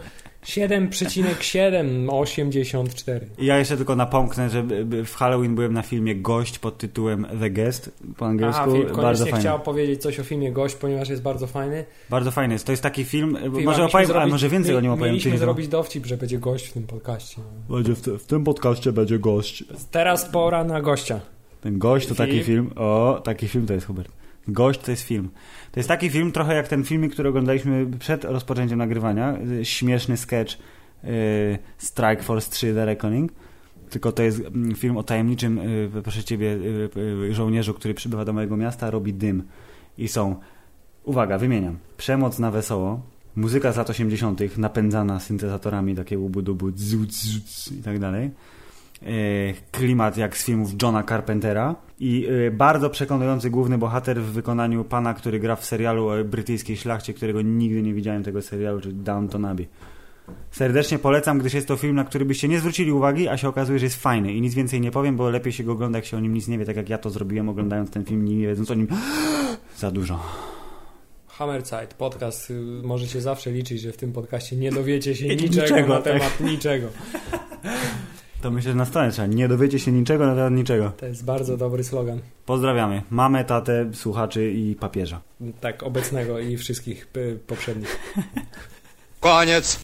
[SPEAKER 2] 7,784.
[SPEAKER 1] I ja jeszcze tylko napomknę, że b- b- w Halloween byłem na filmie Gość pod tytułem The Guest po angielsku.
[SPEAKER 2] Aha, Filip
[SPEAKER 1] bardzo
[SPEAKER 2] koniecznie
[SPEAKER 1] fajny.
[SPEAKER 2] chciał powiedzieć coś o filmie Gość, ponieważ jest bardzo fajny.
[SPEAKER 1] Bardzo fajny jest. To jest taki film.
[SPEAKER 2] Filip,
[SPEAKER 1] może
[SPEAKER 2] mieliśmy
[SPEAKER 1] opowiem, a
[SPEAKER 2] zrobić-
[SPEAKER 1] może więcej
[SPEAKER 2] mi-
[SPEAKER 1] o nim opowiem.
[SPEAKER 2] Mieliśmy
[SPEAKER 1] tydzień temu.
[SPEAKER 2] zrobić dowcip, że będzie gość w tym podcaście.
[SPEAKER 4] Będzie w, te, w tym podcaście będzie gość.
[SPEAKER 2] Teraz pora na gościa.
[SPEAKER 1] Ten gość to taki
[SPEAKER 2] Film.
[SPEAKER 1] film. O, taki film to jest Hubert. Gość to jest film. To jest taki film trochę jak ten filmik, który oglądaliśmy przed rozpoczęciem nagrywania. y, Śmieszny sketch y, Strike Force 3 The Reckoning. Tylko to jest mm, film o tajemniczym, y, proszę ciebie, y, y, żołnierzu, który przybywa do mojego miasta, robi dym. I są, uwaga, wymieniam. Przemoc na wesoło, muzyka z lat 80., napędzana syntezatorami, takie ubudubu, dzu, dzu, dzu, i tak dalej e, klimat jak z filmów Johna Carpentera i e, bardzo przekonujący główny bohater w wykonaniu pana, który gra w serialu o brytyjskiej szlachcie, którego nigdy nie widziałem tego serialu, czyli Downton Abbey. Serdecznie polecam, gdyż jest to film, na który byście nie zwrócili uwagi, a się okazuje, że jest fajny i nic więcej nie powiem, bo lepiej się go ogląda, jak się o nim nic nie wie, tak jak ja to zrobiłem oglądając ten film, nie wiedząc o nim <gasps> za dużo.
[SPEAKER 2] Hammerside, podcast. y, Możecie zawsze liczyć, że w tym podcaście nie dowiecie się
[SPEAKER 1] Nic- <laughs>
[SPEAKER 2] niczego,
[SPEAKER 1] niczego,
[SPEAKER 2] na
[SPEAKER 1] tak.
[SPEAKER 2] temat niczego.
[SPEAKER 1] To myślę, że na stronę trzeba. Nie dowiecie się niczego na temat niczego.
[SPEAKER 2] To jest bardzo dobry slogan.
[SPEAKER 1] Pozdrawiamy mamę, tatę, słuchaczy i papieża.
[SPEAKER 2] Tak, obecnego i wszystkich y, poprzednich.
[SPEAKER 3] Koniec.